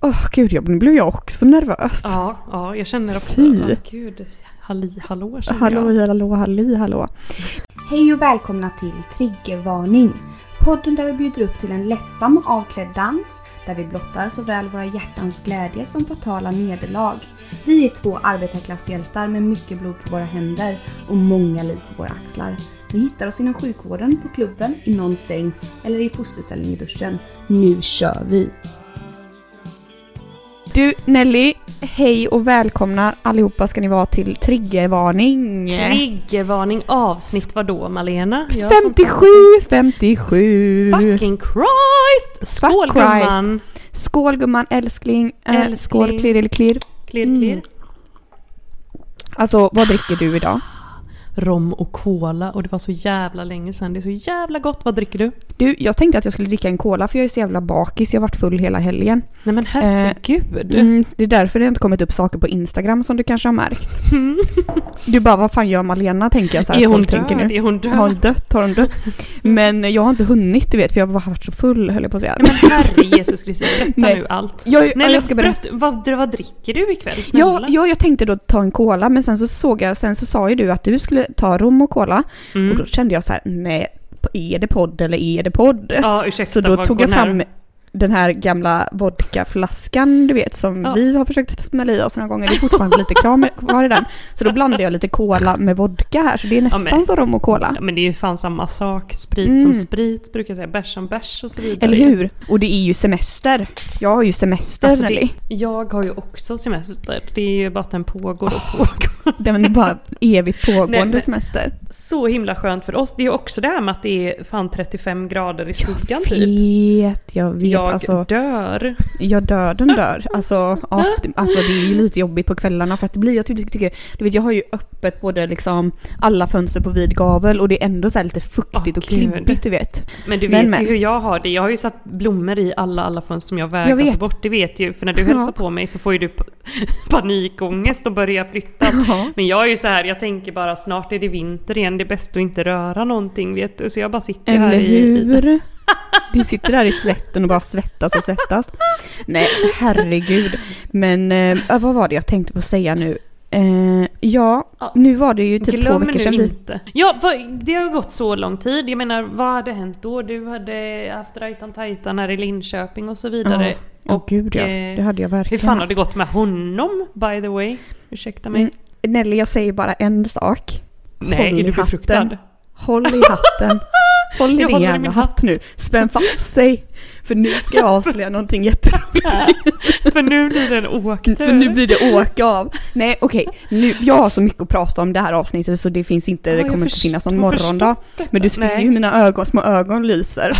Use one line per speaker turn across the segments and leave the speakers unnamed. Åh gud, jag, nu blev jag också nervös.
Ja, ja jag känner också.
Fy.
Ja, gud, halli hallå känner jag.
Hallå, hallå, halli, hallå.
Hej och välkomna till Triggervarning! Podden där vi bjuder upp till en lättsam och avklädd dans där vi blottar såväl våra hjärtans glädje som fatala nederlag. Vi är två arbetarklasshjältar med mycket blod på våra händer och många liv på våra axlar. Ni hittar oss inom sjukvården, på klubben, i någon säng eller i fosterställning i duschen. Nu kör vi!
Du Nelly, hej och välkomna allihopa ska ni vara till Triggervarning.
Triggervarning avsnitt vadå Malena? Jag-
57, 57.
Fucking Christ! Skål
Fuck Christ.
gumman!
Skål gumman, älskling. Eh,
Älskling.
Skål, klirr eller klirr.
Klirr klirr.
Mm. Alltså, vad dricker du idag?
Rom och cola och det var så jävla länge sedan. Det är så jävla gott. Vad dricker du?
Du, jag tänkte att jag skulle dricka en cola för jag är så jävla bakis. Jag har varit full hela helgen.
Nej men herregud.
Mm, det är därför det inte kommit upp saker på Instagram som du kanske har märkt. Du bara, vad fan gör Malena tänker jag så här.
Mm. är, hon
folk
död?
tänker nu.
är hon död?
Har hon dött? Har hon dött?
Mm.
Men jag har inte hunnit du vet för jag har bara varit så full höll jag på att säga.
Men herre Jesus Kristus, berätta
Nej.
nu allt.
Jag, ja,
Nej, men
jag ska berätta.
berätt- Vad, vad dricker du ikväll?
Ja,
Snälla?
ja, jag tänkte då ta en cola men sen så såg jag, sen så sa ju du att du skulle ta rom och cola
Mm.
och då kände jag så här, nej, är det podd eller är det podd?
ja ursäkta.
så då
vad
tog
går
jag fram
nära.
den här gamla vodkaflaskan du vet som
Ja.
vi har försökt smälla i oss några gånger, det är fortfarande lite kram kvar i den. Så då blandade jag lite cola med vodka här så det är nästan
men-
som rom och cola.
Ja, men det är ju fan samma sak. Sprit som
Mm.
sprit brukar jag säga. Bärs som bärs och så vidare.
Eller hur? Och det är ju semester. Jag har ju semester
Alltså, det,
Nelly.
jag har ju också semester. Det är ju bara att den pågår och pågår.
Den är bara evigt
Nej,
pågående
men-
semester.
Så himla skönt för oss. Det är ju också det här med att det är fan 35 grader i skuggan typ.
Vet, jag vet.
Jag
alltså,
dör.
jag dör, den dör. Alltså, ja, det- alltså det är ju lite jobbigt på kvällarna för att det blir, jag tycker, tycker du vet jag har ju öppet både liksom alla fönster på vid gavel och det är ändå så här lite fuktigt
Åh,
och
gud.
klibbigt du vet.
Men du
Men,
vet
men.
ju hur jag har det. Jag har ju satt blommor i alla, alla fönster som jag vägrar
Jag vet.
få bort. Det vet ju. För när du
Ja.
hälsar på mig så får ju du pa- panikångest och börjar flytta.
Ja.
Men jag är ju så här, jag tänker bara snart är det vinter igen. Det är bäst att inte röra någonting vet du. Så jag bara sitter här
Eller
i... i-
hur? Du sitter där i svetten och bara svettas och svettas. Nej, herregud. Men eh, vad var det jag tänkte på att säga nu? Eh, ja,
Ja.
nu var det ju typ
Glöm
två veckor
nu
sedan vi...
inte. Ja, vad- det har gått så lång tid. Jag menar, vad hade hänt då? Du hade haft rajtan tajtan här i Linköping och så vidare.
Ja,
och
gud ja.
eh,
Det hade jag
hur
verkligen.
fan har
haft.
det gått med honom, by the way? Ursäkta mig.
Mm, Nelly, jag säger bara en sak.
Nej,
håll
är du
i hatten.
befruktad?
Håll i hatten. Håll i
Jag
din
håller i
jävla
min
hatt nu. Spänn fast dig. För nu ska jag avslöja någonting jätteroligt.
För nu blir den åktur.
För nu blir det åka av. Nej okej, Nu. jag har så mycket att prata om det här avsnittet så det finns inte,
Ja,
det
jag
kommer inte
först-
finnas någon
jag har
morgondag.
förstått detta.
Men du ser
Nej.
ju hur mina ögon, små ögon lyser.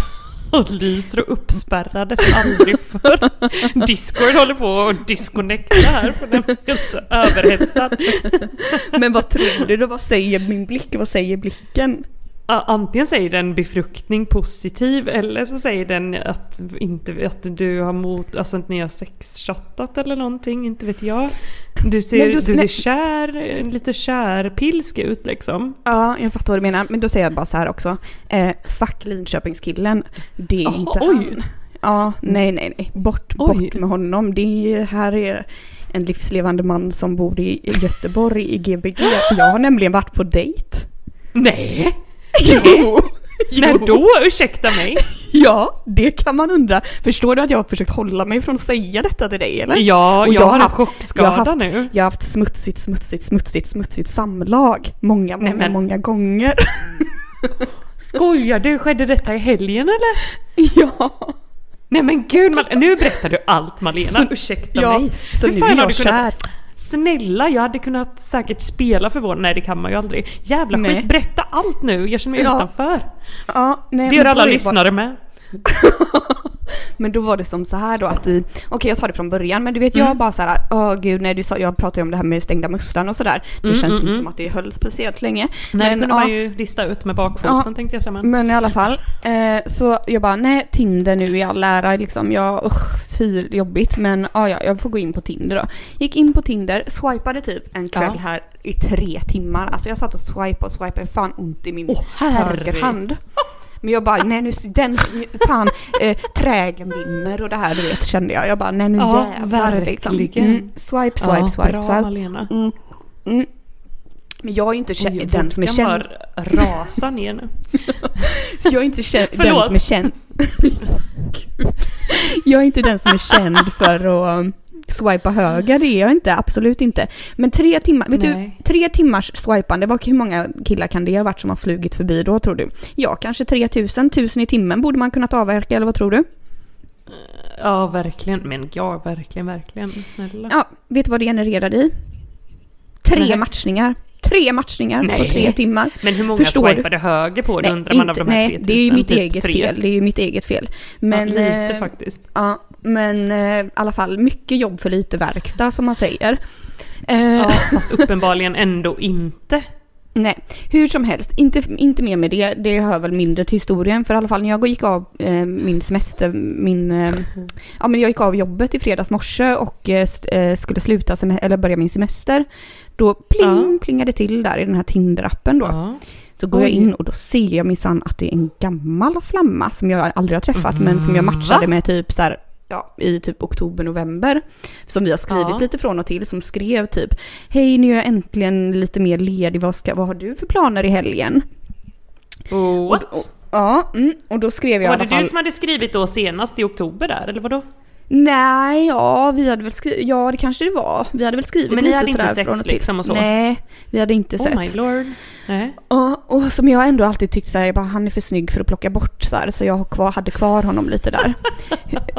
Och lyser och uppspärrade som aldrig förr. Discord håller på att disconnecta här för den är helt överhettad.
Men vad tror du då? Vad säger min blick? Vad säger blicken?
Ja, Antingen säger den befruktning positiv eller så säger den att, inte, att du har mot, alltså att ni har sexchattat eller någonting, inte vet jag. Du ser,
Men
du,
du-
ser
nej.
kär, lite kärpilsk ut liksom.
Ja, jag fattar vad du menar. Men då säger jag bara så här också. Eh, fuck Linköpingskillen. Det är
Jaha,
inte
oj.
han. Ja, nej nej nej. Bort,
Oj.
bort med honom. Det är, här är en livslevande man som bor i Göteborg i Gbg. För jag har nämligen varit på dejt.
Nej!
Jo!
När då? Ursäkta mig?
Ja, det kan man undra. Förstår du att jag har försökt hålla mig från att säga detta till dig eller?
Ja,
Och
jag,
jag
har
har
en
haft-
chockskada
jag har haft-
nu.
Jag har haft smutsigt, smutsigt, smutsigt, smutsigt samlag. Många, många,
Nej, men-
många gånger.
Skojar du? Skedde detta i helgen eller?
ja.
Nej men gud, Mal- nu berättar du allt Malena.
Så-
Ursäkta
ja.
mig.
Så
Hur
nu
fan
är
har
jag
du kunnat-
kär.
Snälla, jag hade kunnat säkert spela för vår... Nej det kan man ju aldrig. Jävla
Nej.
skit, berätta allt nu. Jag känner mig
Ja.
utanför.
Ja, nej,
Det
men
gör
då
alla
är bara-
lyssnare med.
Men då var det som så här då att i, okej jag tar det från början men du vet
Mm.
jag bara så här, åh gud nej du sa, jag pratade ju om det här med stängda musslan och sådär. Det känns inte som att det höll speciellt länge.
Mm, Nej, det
men,
kunde
ja.
man ju lista ut med bakfoten
Ja. Mm,
tänkte jag säga. Men.
Men i alla fall, eh, så jag bara nej Tinder nu i all ära liksom, jag, usch fy jobbigt men ah, ja, jag får gå in på Tinder då. Gick in på Tinder, swipade typ en kväll
Ja.
här i tre timmar. Alltså jag satt och swipade och swipade, fan ont i min
Åh, herre.
högerhand. Men jag bara, nej nu, den, fan, eh, trägen vinner och det här du vet kände jag. Jag bara, nej nu
Ja,
jävlar. liksom.
verkligen.
Swipe, swipe,
ja,
swipe,
bra
swipe.
Malena.
Mm. Mm. Men jag är ju inte kä-
Oj,
den som är
vodkan
känd.
bara rasar ner nu.
Jag är inte känd, den
Förlåt.
som är känd. Gud. jag är inte den som är känd för att um, swipa höger, det är jag inte, absolut inte. Men tre timmar, vet
Nej.
du, tre timmars swipande, vad, hur många killar kan det ha varit som har flugit förbi då tror du? Ja, kanske 3000, 1000 i timmen borde man kunnat avverka eller vad tror du?
Ja, verkligen. Men ja, verkligen, verkligen. Snälla.
Ja, vet du vad det genererade i? Tre
Nej.
matchningar. Tre matchningar
Nej.
på tre timmar.
Men hur många
Förstår du?
swipade höger på det undrar man av de här
nej,
3000?
det är ju mitt
typ
eget
tre.
fel. Det är ju mitt eget fel. Men,
ja, lite
eh,
faktiskt.
Ja, men eh, i alla fall mycket jobb för lite verkstad som man säger. Eh,
Ja, fast uppenbarligen ändå inte.
Nej, hur som helst, inte, inte mer med det. Det hör väl mindre till historien. För i alla fall när jag gick av eh, min semester, min... Eh, ja men jag gick av jobbet i fredags morse och eh, st- eh, skulle sluta sem- eller börja min semester. Då pling,
Ja.
plingade det till där i den här Tinder-appen då.
Ja.
Så går jag
Oj.
in och då ser jag minsann att det är en gammal flamma som jag aldrig har träffat men som jag matchade
Va?
med typ så här, ja, i typ oktober, november. Som vi har skrivit
Ja.
lite från och till som skrev typ Hej nu är jag äntligen lite mer ledig, vad, ska, vad har du för planer i helgen?
What?
Och, och, ja, mm, och då skrev jag i
var
alla
det
fall
du som hade skrivit då senast i oktober där, eller vadå?
Nej, ja vi hade väl skrivit, ja det kanske det var. Vi hade väl skrivit
Men ni
lite
hade inte
sådär
setts
från och till.
liksom och så?
Nej, vi hade inte
Oh my
setts.
lord. Nej.
Ja, och som jag ändå alltid tyckt så här, jag bara, han är för snygg för att plocka bort så här, så jag har kvar, hade kvar honom lite där.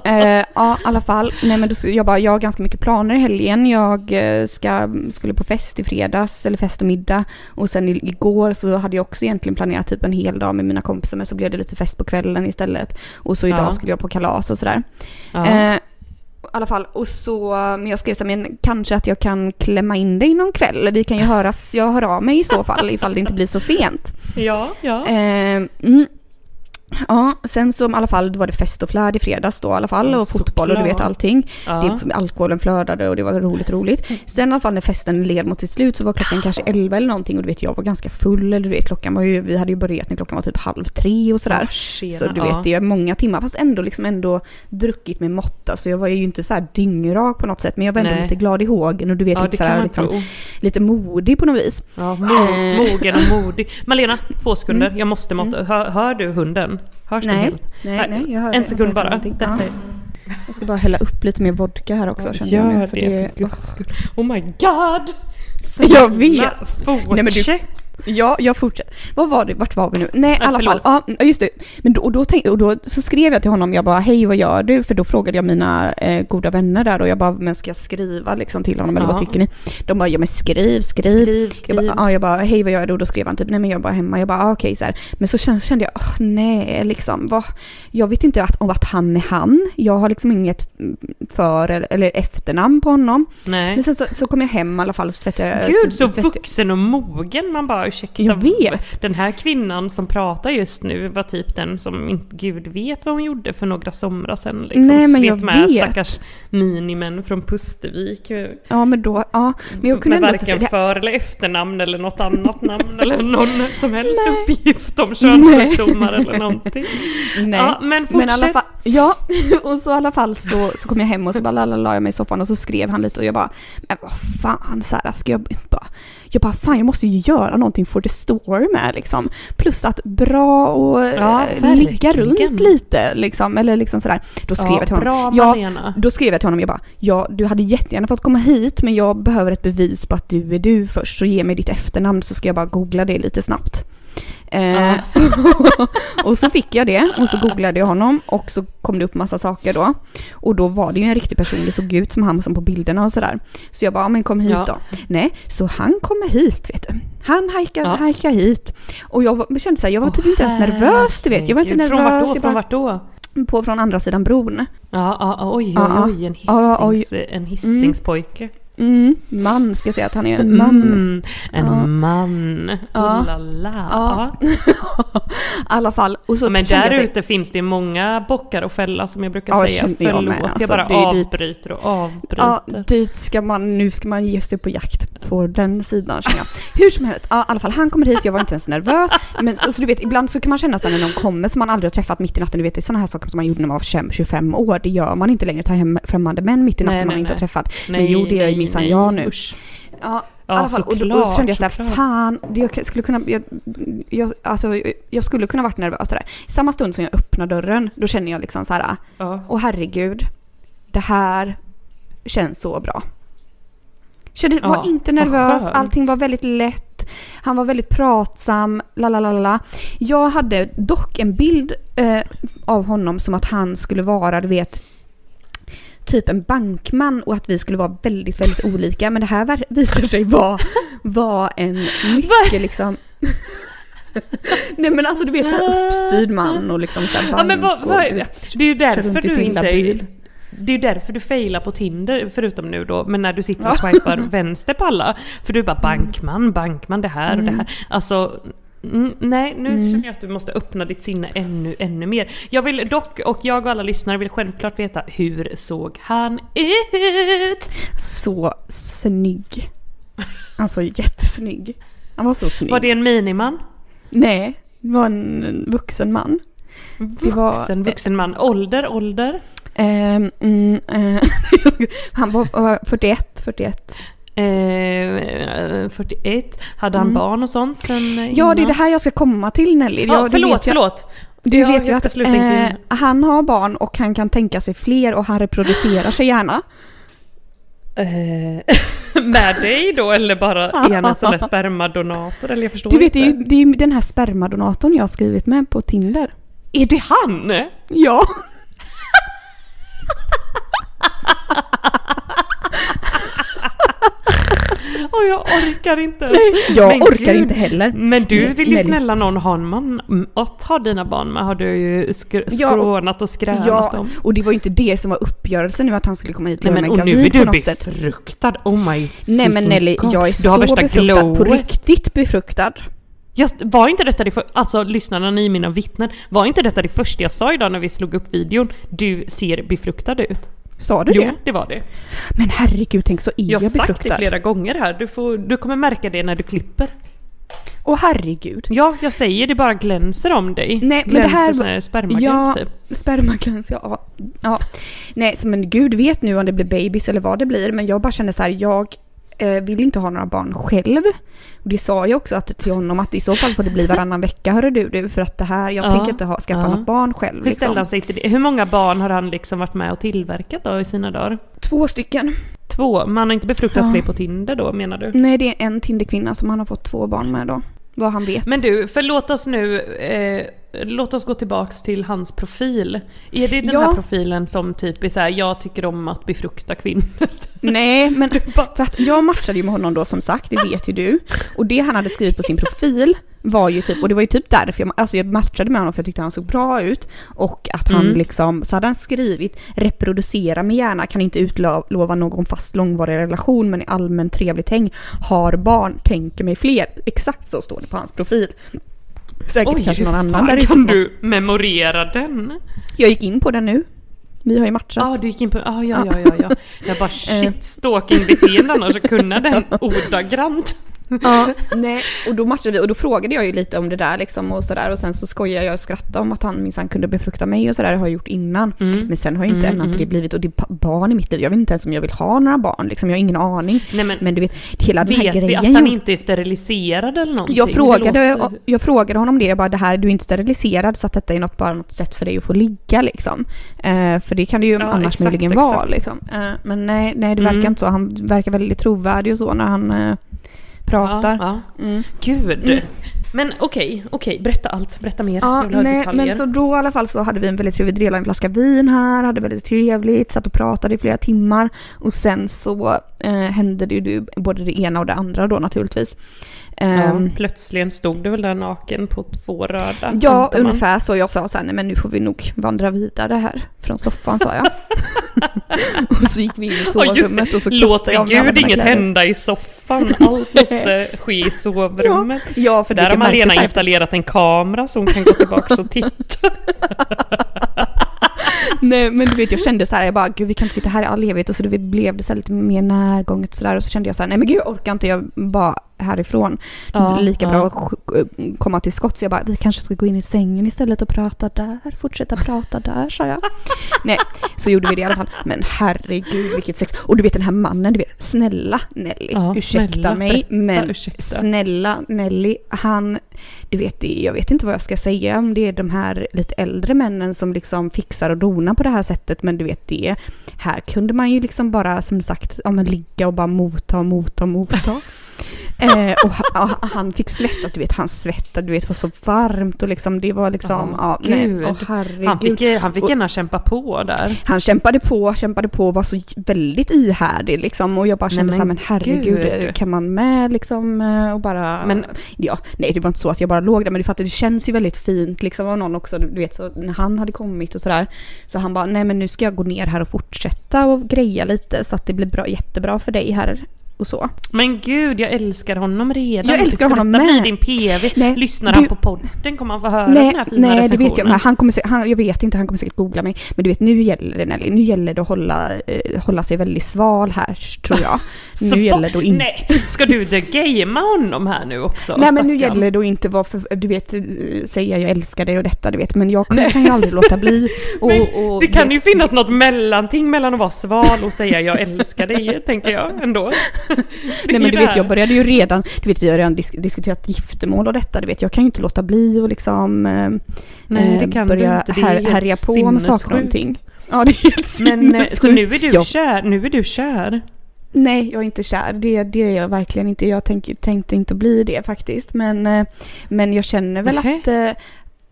eh, ja, i alla fall. Nej men då, så- jag bara, jag har ganska mycket planer i helgen. Jag eh, ska, skulle på fest i fredags, eller fest och middag. Och sen i- igår så hade jag också egentligen planerat typ en hel dag med mina kompisar, men så blev det lite fest på kvällen istället. Och så idag
Ja.
skulle jag på kalas och sådär.
Ja.
Eh, i alla fall, och så, men jag skrev så här, men kanske att jag kan klämma in dig någon kväll. Vi kan ju höras, jag hör av mig i så fall ifall det inte blir så sent.
ja, ja.
Eh, mm. Ja, sen så i alla fall då var det fest och flärd i fredags då i alla fall och
Såklart.
fotboll och du vet allting.
ja. Mm.
Det, typ alkoholen flödade och det var roligt roligt. Sen i alla fall när festen led mot sitt slut så var klockan kanske 11 eller någonting och du vet jag var ganska full eller du vet klockan var ju, vi hade ju börjat när klockan var typ halv tre och sådär.
Ah, tjena,
Så du
ja.
vet, det är många timmar. Fast ändå liksom ändå druckit med måtta. Så jag var ju inte så här dyngrak på något sätt. Men jag var ändå
Nej.
lite glad i hågen och du vet
Ja,
lite,
det
så
kan
här,
man
liksom, Eh.
tro.
lite modig på något vis.
Ja, mo- mogen och modig. Malena, två sekunder. Jag måste måtta. Hör, hör du hunden? Hörs den
Mm. Nej,
helt?
nej,
Här,
nej, jag hör
En
det.
sekund
Jag hör
bara.
ingenting.
Detta
Ja.
är...
Jag ska bara hälla upp lite mer vodka här också. känner jag nu,
Gör det, för guds skull. Oh my god!
Jag vet!
Snälla,
men du-
Fortsätt!
Ja, jag fortsätter. Vad var det, vart var vi nu? Nej, i
Ja,
alla fall.
förlåt.
Ja, mm, just det. Men då, och då, tänkte, och då så skrev jag till honom, jag bara hej vad gör du? För då frågade jag mina eh, goda vänner där och jag bara men ska jag skriva liksom till honom eller vad
Ja.
tycker ni? De bara ja men skriv, skriv.
Skriv, skriv.
Jag bara, ja, jag bara hej vad gör du? Och då skrev han typ nej men jag är bara hemma. Jag bara ah, okej så här. Men så kände, kände jag åh nej liksom vad, jag vet inte att, om att han är han. Jag har liksom inget mm, för eller, eller efternamn på honom.
Nej.
Men sen så, så kom jag hem i alla fall och så tvättade jag.
Gud så
tvättade-
vuxen och mogen man bara ursäkta.
Jag vet.
Den här kvinnan som pratar just nu var typ den som inte gud vet vad hon gjorde för några somrar sedan. Liksom.
Nej, men
Slet
jag
med
vet.
stackars minimän från Pustervik. Men
Ja men då, ja. Men jag kunde
med
ändå inte
varken
säga det.
för eller efternamn eller något annat namn eller någon som helst
Nej.
uppgift om könssjukdomar eller någonting.
Nej.
Ja, men fortsätt.
Men i alla fall, ja, och så i alla fall så, så kom jag hem och så bara la, la, la jag mig i soffan och så skrev han lite och jag bara, men vad fan så här, ska jag inte bara, jag bara fan jag måste ju göra någonting for the story med liksom. Plus att bra och
Ja,
eh, ligga
verkligen.
runt lite liksom, eller liksom sådär. Då skrev jag till honom.
bra
"Ja,
Malena.
då skrev jag till honom, jag bara, ja du hade jättegärna fått komma hit men jag behöver ett bevis på att du är du först så ge mig ditt efternamn så ska jag bara googla det lite snabbt. Eh,
Ja.
och så fick jag det och så googlade jag honom och så kom det upp massa saker då. Och då var det ju en riktig person, det såg ut som han som på bilderna och sådär. Så jag bara, ja, men kom hit
Ja.
då. Nej, så han kommer hit vet du. Han hajkar,
Ja.
hajkar hit. Och jag var- kände såhär, jag var typ
Åh,
inte ens nervös du vet. Jag var inte nervös.
herregud. Från vart då?
jag
Från
bara,
vart då?
på från andra sidan bron.
Ja, ja, ja, oj, oj,
Ja,
oj, en,
ja, oj.
hissings, en hissingspojke.
Mm, man ska jag säga att han är en man.
Mm, en
Ja.
man.
Ja.
Oh la la.
Ja.
Ja.
I alla fall. Och så
Men
kände
där
jag sig-
ute finns det många bockar och fälla som jag brukar
Ja,
säga.
känner jag
Förlåt,
med,
jag,
alltså.
bara
Det är dit-
avbryter och avbryter.
Ja, dit ska man, nu ska man ge sig på jakt. får den sidan känner jag. Hur som helst, ja, i alla fall han kommer hit, jag var inte ens nervös. Men så, så du vet, ibland så kan man känna sig när någon kommer som man aldrig har träffat mitt i natten. Du vet, det är sådana här saker som man gjorde när man var 25 25 år. Det gör man inte längre, ta hem främmande män mitt i natten
Nej,
man
nej,
inte har
nej.
träffat. men jo, det gör ju minsann
nej,
jag nu.
usch.
Ja,
Ja,
i alla fall. Och då, och
såklart,
så kände jag såhär,
såklart.
fan, det jag skulle kunna, jag, jag, alltså, jag skulle kunna varit nervös sådär. Samma stund som jag öppnar dörren, då känner jag liksom så här,
Ja.
åh herregud, det här känns så bra. Kände,
Ja,
var inte
vad
nervös,
skönt.
allting var väldigt lätt. Han var väldigt pratsam, la la la la. Jag hade dock en bild eh, av honom som att han skulle vara, du vet, typ en bankman och att vi skulle vara väldigt, väldigt olika. Men det här ver- visar sig vara vara en mycket liksom... Nej men alltså du vet såhär uppstyrd man och liksom såhär bank
Ja, men vad, vad,
och, du vet,
det är ju
kör runt
därför
i sin
du inte...
lilla bil.
Det är ju därför du failar på Tinder, förutom nu då, men när du sitter och swipar vänster på alla. För du bara
Mm.
bankman, bankman, det här och det här. Alltså, mm, nej nu känner jag att du måste öppna ditt sinne ännu, ännu mer. Jag vill dock, och jag och alla lyssnare vill självklart veta, hur såg han ut?
så snygg. Alltså jättesnygg. Han var så snygg.
Var det en miniman?
Nej, det var en vuxen man. Det var-
Vuxen, vuxen man. Ålder, ålder?
Ehm, mm, eh, han var var 41, 41.
Eh, 41. Hade han
Mm.
barn och sånt sen eh,
Ja, det är
innan?
det här jag ska komma till Nelly.
Ja,
Ja,
förlåt,
du vet ju,
förlåt.
du
Ja,
vet ju
jag ska
att
sluta intervjun.
eh, han har barn och han kan tänka sig fler och han reproducerar sig gärna.
Eh, med dig då eller bara är han en sån där spermadonator eller jag förstår
Du vet,
inte.
det är ju, det är ju den här spermadonatorn jag har skrivit med på Tinder.
Är det han?
Ja.
Åh jag orkar inte.
Jag
Men
orkar
gud.
inte heller.
Men du
Nej,
vill ju
nej.
snälla någon ha en man mm, att ha dina barn med har du ju skr-
Ja, och-
skrånat och skränat
Ja,
om.
och det var ju inte det som var uppgörelsen nu att han skulle komma hit och
Nej,
göra
men,
mig
och nu är
gravid på
du
något sätt.
befruktad, oh my
Nej men Nelly,
God.
jag är
Du har
så
värsta
befruktad. På
glowet.
riktigt befruktad.
Jag, var inte detta det för, alltså lyssnarna, ni är mina vittnen. Var inte detta det första jag sa idag när vi slog upp videon? Du ser befruktad ut.
Sa du
jo,
det?
det var det.
Men herregud, tänk så är
Jag
jag,
har sagt det
befruktad.
flera gånger här. Du, får, du kommer märka det när du klipper.
Åh herregud.
Ja, jag säger det bara glänser om dig.
Nej, men det
glänser
här-
sån här spermagrans
Ja,
typ.
spermaglans, ja, ja. ja. Nej, så men gud vet nu om det blir babys eller vad det blir. Men jag bara känner så här, jag eh, vill inte ha några barn själv. Och det sa jag också att, till honom att i så fall får det bli varannan vecka, hörru du, du för att det här, jag
Ja,
tänker inte ha, skaffa
ja.
något barn själv.
Hur ställde
Liksom.
han sig till det? Hur många barn har han liksom varit med och tillverkat då i sina dagar?
Två stycken.
Två. Man har inte befruktat
Ja.
fler på Tinder då menar du?
Nej, det är en Tinderkvinna som han har fått två barn med då. Vad han vet.
Men du, förlåt oss nu. Eh, låt oss gå tillbaks till hans profil. Är det den
Ja.
här profilen som typ är såhär, jag tycker om att befrukta kvinnor?
Nej, men för att jag matchade ju med honom då som sagt, det vet ju du. Och det han hade skrivit på sin profil var ju typ, och det var ju typ därför jag, alltså jag matchade med honom för jag tyckte han såg bra ut. Och att han
Mm.
liksom, så hade han skrivit reproducera med gärna, kan inte utlova någon fast långvarig relation men i allmän trevligt häng, har barn, tänker mig fler. Exakt så står det på hans profil. Säkert kanske
hur
någon annan
fan
där ute
kan
som-
du memorera den?
Jag gick in på den nu. Vi har ju matchat.
Ja, ah, du gick in på... Ah, ja, ja, ja, ja. Jag bara
Eh.
shit, stalking-beteende annars att kunna den ordagrant.
Ja, nej. Och då matchade vi och då frågade jag ju lite om det där liksom och sådär och sen så skojade jag och skrattade om att han minsann kunde befrukta mig och sådär, det har jag gjort innan. Men sen har ju inte
Mm,
än att det
mm.
blivit och det är pa- barn i mitt liv, jag vet inte ens om jag vill ha några barn liksom, jag har ingen aning.
Nej men,
Men du vet, hela den här
vet vi
grejen.
att han
gjorde-
inte är steriliserad eller någonting?
jag,
Det
frågade,
låter-
jag frågade honom det, jag bara det här, du är inte steriliserad så att detta är något, bara något sätt för dig att få ligga liksom. Eh, för det kan det ju
Ja,
annars
exakt,
möjligen
exakt.
vara liksom. Eh, men nej, nej det verkar
Mm.
inte så, han verkar väldigt trovärdig och så när han eh, pratar.
Ja, ja.
Mm.
Gud.
Mm.
Men okej, okej, berätta allt, berätta mer.
Ja,
jag vill höra
nej,
detaljer.
men så då i alla fall så hade vi en väldigt trevlig, delade en flaska vin här, hade väldigt trevligt, satt och pratade i flera timmar och sen så eh, hände det ju både det ena och det andra då naturligtvis.
Ja,
Ehm,
plötsligen stod du väl där naken på två röda?
ja,
antar man.
ungefär så. Jag sa så här, nej men nu får vi nog vandra vidare här från soffan sa jag. och så gick vi in i
Ja, just
sovrummet och så
Låt
kastade jag av mig alla
gud
mina
inget
kläder.
hända i soffan, allt måste ske i sovrummet.
Ja,
För
för
där har
vilket märke
Malena
så här-
installerat en kamera så hon kan gå tillbaka och titta.
Nej men du vet jag kände så här, jag bara gud vi kan inte sitta här i all evighet och så det blev det så här lite mer närgånget sådär och så kände jag så här, nej men gud jag orkar inte, jag bara härifrån.
Ja,
Lika
ja.
bra att sk- eh, komma till skott så jag bara vi kanske ska gå in i sängen istället och prata där, fortsätta prata där sa jag. nej, så gjorde vi det i alla fall. Men herregud vilket sex. Och du vet den här mannen, du vet snälla Nelly,
Ja,
ursäkta
snälla,
mig
berätta,
men
ursäkta.
snälla Nelly, han du vet, det- jag vet inte vad jag ska säga om det är de här lite äldre männen som liksom fixar och donar på det här sättet men du vet det, här kunde man ju liksom bara som sagt ja, men ligga och bara motta, motta, motta. eh, och ha- ja, han fick svettat, du vet han svettade, du vet var så varmt och liksom det var liksom,
Ja,
ja nej,
gud.
åh herregud.
Han fick, han fick gärna kämpa på där.
Han kämpade på, kämpade på och var så j- väldigt ihärdig liksom. Och jag bara kände
men
såhär, men herregud, eh,
gud.
kan man med liksom? eh, Och bara...
Men-
ja, nej det var inte så att jag bara låg där, men du fattar, det känns ju väldigt fint liksom av någon också. Du du vet, så när han hade kommit och sådär. Så han bara, nej men nu ska jag gå ner här och fortsätta och greja lite så att det blir bra, jättebra för dig här. Och så.
Men gud, jag älskar honom redan.
Jag älskar
Ska
honom
detta
med.
bli din PV?
Nej,
Lyssnar
du-
han på podden? Kommer han få höra den här fina
nej det
recensionen?
vet jag. Men han kommer, sä- han, jag vet inte, han kommer säkert googla mig. Men du vet, nu gäller det Nelly, nu gäller det att hålla, eh, hålla sig väldigt sval här, tror jag.
Så
nu gäller det att
vad-
inte...
Nej, ska du the gamea honom här nu också?
Nej men nu
stackarn?
gäller det att inte vara för, du vet, eh, säga jag älskar dig och detta, du vet. Men jag kan, kan ju aldrig låta bli. Och,
Men
och,
det kan
vet-
ju finnas något mellanting mellan att vara sval och säga jag älskar dig, tänker jag ändå. Det är
Nej
ju
men du
det
vet,
här.
jag började ju redan, du vet vi har redan disk- diskuterat giftermål och detta, du vet. Jag kan ju inte låta bli och liksom eh,
Nej, det
eh,
kan du
börja
inte. Det är
här,
helt
härja på med saker och
sinnessjukt.
ting. Ja det är helt
Men eh,
sinnessjukt.
så nu är du
Jag
kär? Nu är du kär?
Nej, jag är inte kär. Det, det är jag verkligen inte. Jag tänk, tänkte inte bli det faktiskt. Men, eh, men jag känner väl
Nähä.
att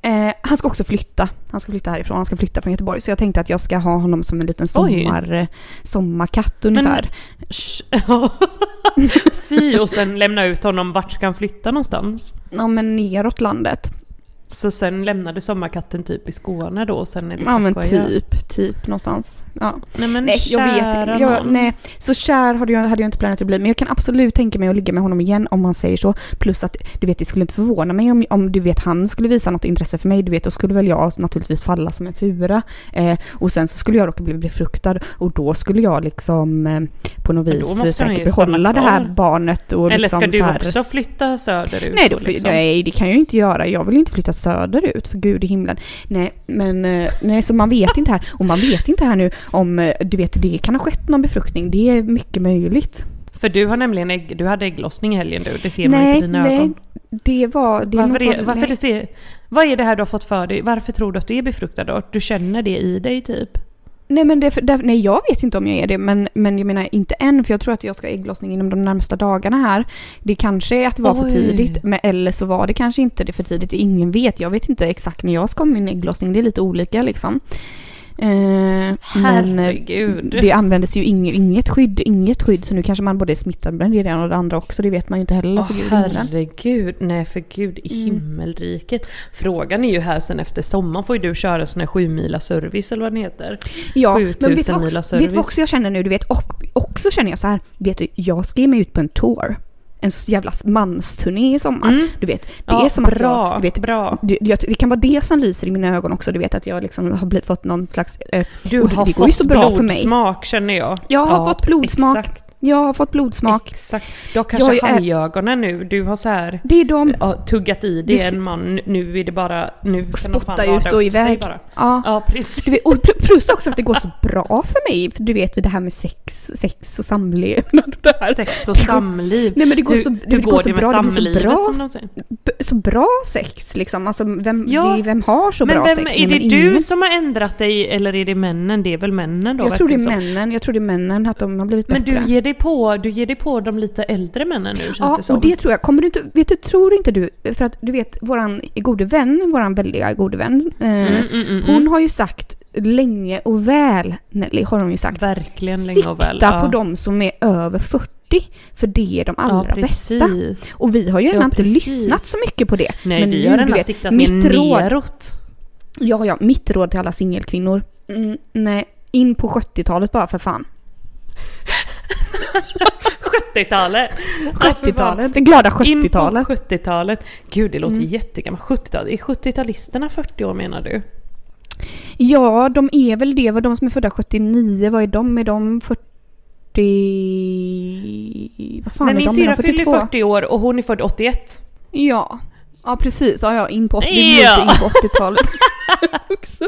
eh, eh, han ska också flytta. Han ska flytta härifrån. Han ska flytta från Göteborg. Så jag tänkte att jag ska ha honom som en liten
Oj.
sommar, eh, sommarkatt ungefär.
Sh- ja. Fy, och sen lämna ut honom vart ska han flytta någonstans?
Ja, men neråt landet.
Så sen lämnade sommarkatten typ i Skåne då och sen är det
Ja, men
Tackoja.
typ, typ någonstans. Ja.
Nej men
Nej, jag
kära
vet jag,
nån.
nej, Så kär hade jag, hade jag inte planerat att bli, men jag kan absolut tänka mig att ligga med honom igen om man säger så. Plus att, du vet, det skulle inte förvåna mig om, om du vet, han skulle visa något intresse för mig, du vet, då skulle väl jag naturligtvis falla som en fura. Eh, och sen så skulle jag råka bli befruktad och då skulle jag liksom eh, på något
Men då måste
vis
han ju
säkert
stanna
behålla det här
kvar.
barnet. Och
Eller
liksom
ska
så
du
här,
också flytta söderut?
Nej, då,
då, liksom?
fly- nej, det kan jag ju inte göra. Jag vill ju inte flytta söderut, för gud i himlen. Nej, men eh, nej, så man vet inte här. Och man vet inte här nu om, eh, du vet, det kan ha skett någon befruktning. Det är mycket möjligt.
För du har nämligen ägg, du hade ägglossning i helgen du, det ser man inte i
nej,
dina
nej,
ögon.
det var... Det är
Varför,
nog-
är, varför
nej.
det ser, vad är det här du har fått för dig? Varför tror du att du är befruktad då? Du känner det i dig typ?
Nej, men det, för- därför, nej, jag vet inte om jag är det, men, men jag menar inte än, för jag tror att jag ska ha ägglossning inom de närmsta dagarna här. Det kanske är att det var för
Oj.
tidigt, men, eller så var det kanske inte det för tidigt. Ingen vet. Jag vet inte exakt när jag ska ha min ägglossning. Det är lite olika liksom. Eh, men, eh,
Herregud.
Det användes ju inget, inget skydd, inget skydd så nu kanske man både är smittad med det ena och det andra också, det vet man ju inte heller.
Åh,
för gud i himlen. Mm.
herregud, nej för gud i himmelriket. Frågan är ju här sen efter sommaren får ju du köra sån här sju mila service eller vad den heter.
Ja, men vet du,
7000
vad
mila
också, vet du vad
service.
också jag känner nu? Du vet, och, också känner jag så här, vet du, jag ska ge mig ut på en tour. En jävla mansturné i sommar.
Mm.
Du vet, det
Ja,
är som att
bra,
jag, du vet,
bra.
Du, jag, det kan vara det som lyser i mina ögon också, du vet att jag liksom har blivit, fått någon slags... Eh,
Du
och det,
har
det går ju
fått
så bra för mig.
blodsmak känner jag.
Jag har fått blodsmak.
Exakt,
Jag har fått blodsmak.
exakt. Du har kanske
Jag är-
hajögonen nu, du har så här...
Det är de...
Ja, tuggat
Du
i det
s-
en man, nu är det bara... Nu kan de fan
Spotta
lada
ut och
upp sig
iväg.
bara.
Ja.
Ja, precis.
Du vet, Och pl- plus också att det går så bra för mig. För du vet det här med sex, sex och samlevnad och det här.
Sex och samliv.
Nej men det går
hur,
så, det
hur går,
går så
det med
bra, det blir så
samlivet
bra,
som de säger?
b- så bra sex liksom. Alltså vem,
Ja,
det, är- vem har så
Men
bra
vem,
sex? Nej,
är det
men
du
ingen-
som har ändrat dig eller är det männen? Det är väl männen då?
Jag tror det
verkar
är
som.
männen, jag tror det är männen att de har blivit
liksom- Men
bättre.
du ger, dig på, du ger dig på de lite äldre männen nu känns
Ja,
det som.
och det tror jag. Kommer du inte, vet du, tror inte du, för att du vet våran gode vän, våran väldiga gode vän, eh,
Mm, mm, mm,
hon
mm.
har ju sagt länge och väl, Nelly, har hon ju sagt.
Verkligen länge
Sikta
och väl.
på de som är över 40, för det är de allra bästa.
precis.
Och vi har ju redan inte
precis.
lyssnat så mycket på det.
Nej,
Men
vi
nu,
har
du
redan
vet,
siktat mer
mitt råd-
neråt.
Ja, ja, mitt råd till alla singelkvinnor. Mm, nej, in på 70-talet bara för fan.
70-talet! Ja, för fan.
70-talet, det glada
In på
70-talet. Mm.
70-talet. Gud, det låter jättegammalt. 70-talet. Är 70-talisterna 40 år menar du?
Ja, de är väl det. Vad De som är födda 79, vad är de? Är de 40... Vad fan
Nej,
är de?
min
Är de
syrra fyller
42?
40 år och hon är född 81.
Ja. Ja precis, ja, ja in på 80
Ja.
lite in på 80-talet. Också.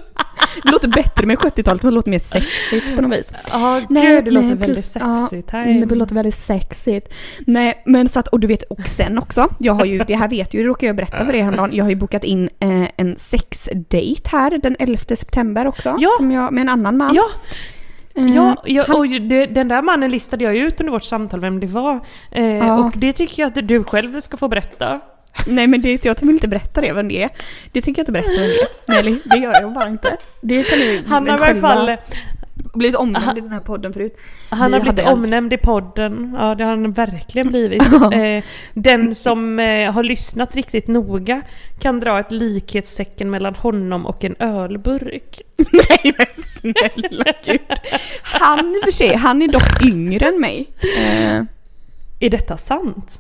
det låter bättre med 70-talet, men det låter mer sexigt på något vis.
Ja, gud
Nej,
det låter
nej,
väldigt
plus- ja,
sexigt.
Mm, Det låter väldigt sexigt. Nej, men så att, och du vet, och sen också, jag har ju, det här vet ju, det råkar jag berätta för er häromdagen, jag har ju bokat in eh, en sexdate här den 11 september också.
Ja.
Som jag, med en annan man.
Ja,
Eh,
ja, ja och det, den där mannen listade jag ju ut under vårt samtal vem det var. Eh,
Ja.
Och det tycker jag att du själv ska få berätta.
Nej men det, jag vill inte berätta det vem det är. Det tänker jag inte berätta vem det är. Nej, eller, det gör jag bara inte. Det kan ni
Han har i alla
själva-
fall
blivit omnämnd i den här podden förut.
han
Vi
har
hade
blivit
allt.
omnämnd i podden. Ja, det har han verkligen blivit. Eh, den som eh, har lyssnat riktigt noga kan dra ett likhetstecken mellan honom och en ölburk.
Nej men snälla gud. Han i och för sig, han är dock yngre än mig. Eh,
Är detta sant?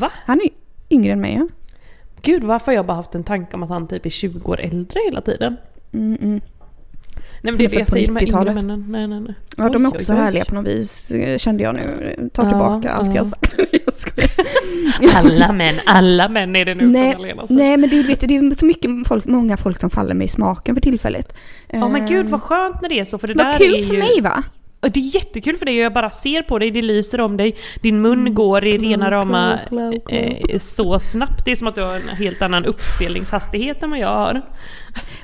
Va?
han är yngre än mig ja.
Gud, varför har jag bara haft en tanke om att han typ är 20 år äldre hela tiden?
Mm, mm.
Nej men
Det
det
är
är det jag
född på
säger, de här yngre
90-talet.
männen. Nej, nej, nej.
Ja de är
Oj,
också
oj, oj.
härliga på något vis eh, kände jag nu. Eh, Tar
Ja,
tillbaka allt
ja.
jag sagt. Jag skojar.
Alla män, alla män är det nu
Nej,
från Helena säger.
nej men det, är- vet du, det är så mycket folk, många folk som faller mig i smaken för tillfället.
Ja men gud
Eh,
vad skönt när det är så för det där
vad
är
kul
ju...
för mig va?
Och Det är jättekul för dig och jag bara ser på dig, det lyser om dig, din mun
Mm.
går i rena rama
glow, glow, glow.
eh, så snabbt. Det är som att du har en helt annan uppspelningshastighet än vad jag har.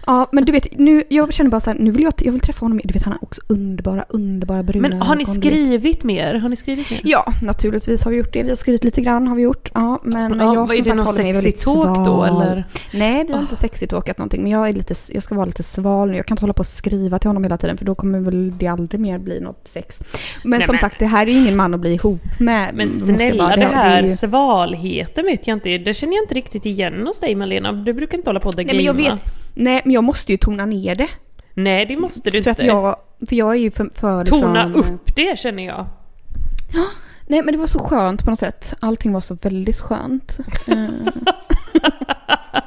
Ja, men du vet, nu, jag känner bara så här, nu vill jag, jag vill träffa honom. Du vet, han har också underbara, underbara bruna
Men har ni
ögon, du vet.
skrivit mer? Har ni skrivit mer?
Ja, naturligtvis har vi gjort det. Vi har skrivit lite grann har vi gjort. Ja, men
Ja,
jag
vad är
som
det
sagt
någon
håller mig väldigt
sexig talk då
sval.
eller? Ah.
Nej, vi har inte sexigt åkat någonting. Men jag, är lite, jag ska vara lite sval nu. Jag kan inte hålla på och skriva till honom hela tiden för då kommer väl det aldrig mer bli något sex. Men
Nej,
som
men-
sagt, det här är ingen man att bli ihop med.
Men
måste jag
snälla,
bara-
det
är
här
ju-
svalheten vet jag inte, det känner jag inte riktigt igen hos dig Malena. Du brukar inte hålla på och
Nej, men jag
gamea.
vet. Nej, men jag måste ju tona ner det.
Nej, det måste du
För
inte.
att jag, för jag är ju för, för
Tona
liksom-
upp det känner jag.
Nej men det var så skönt på något sätt. Allting var så väldigt skönt. Eh. ja.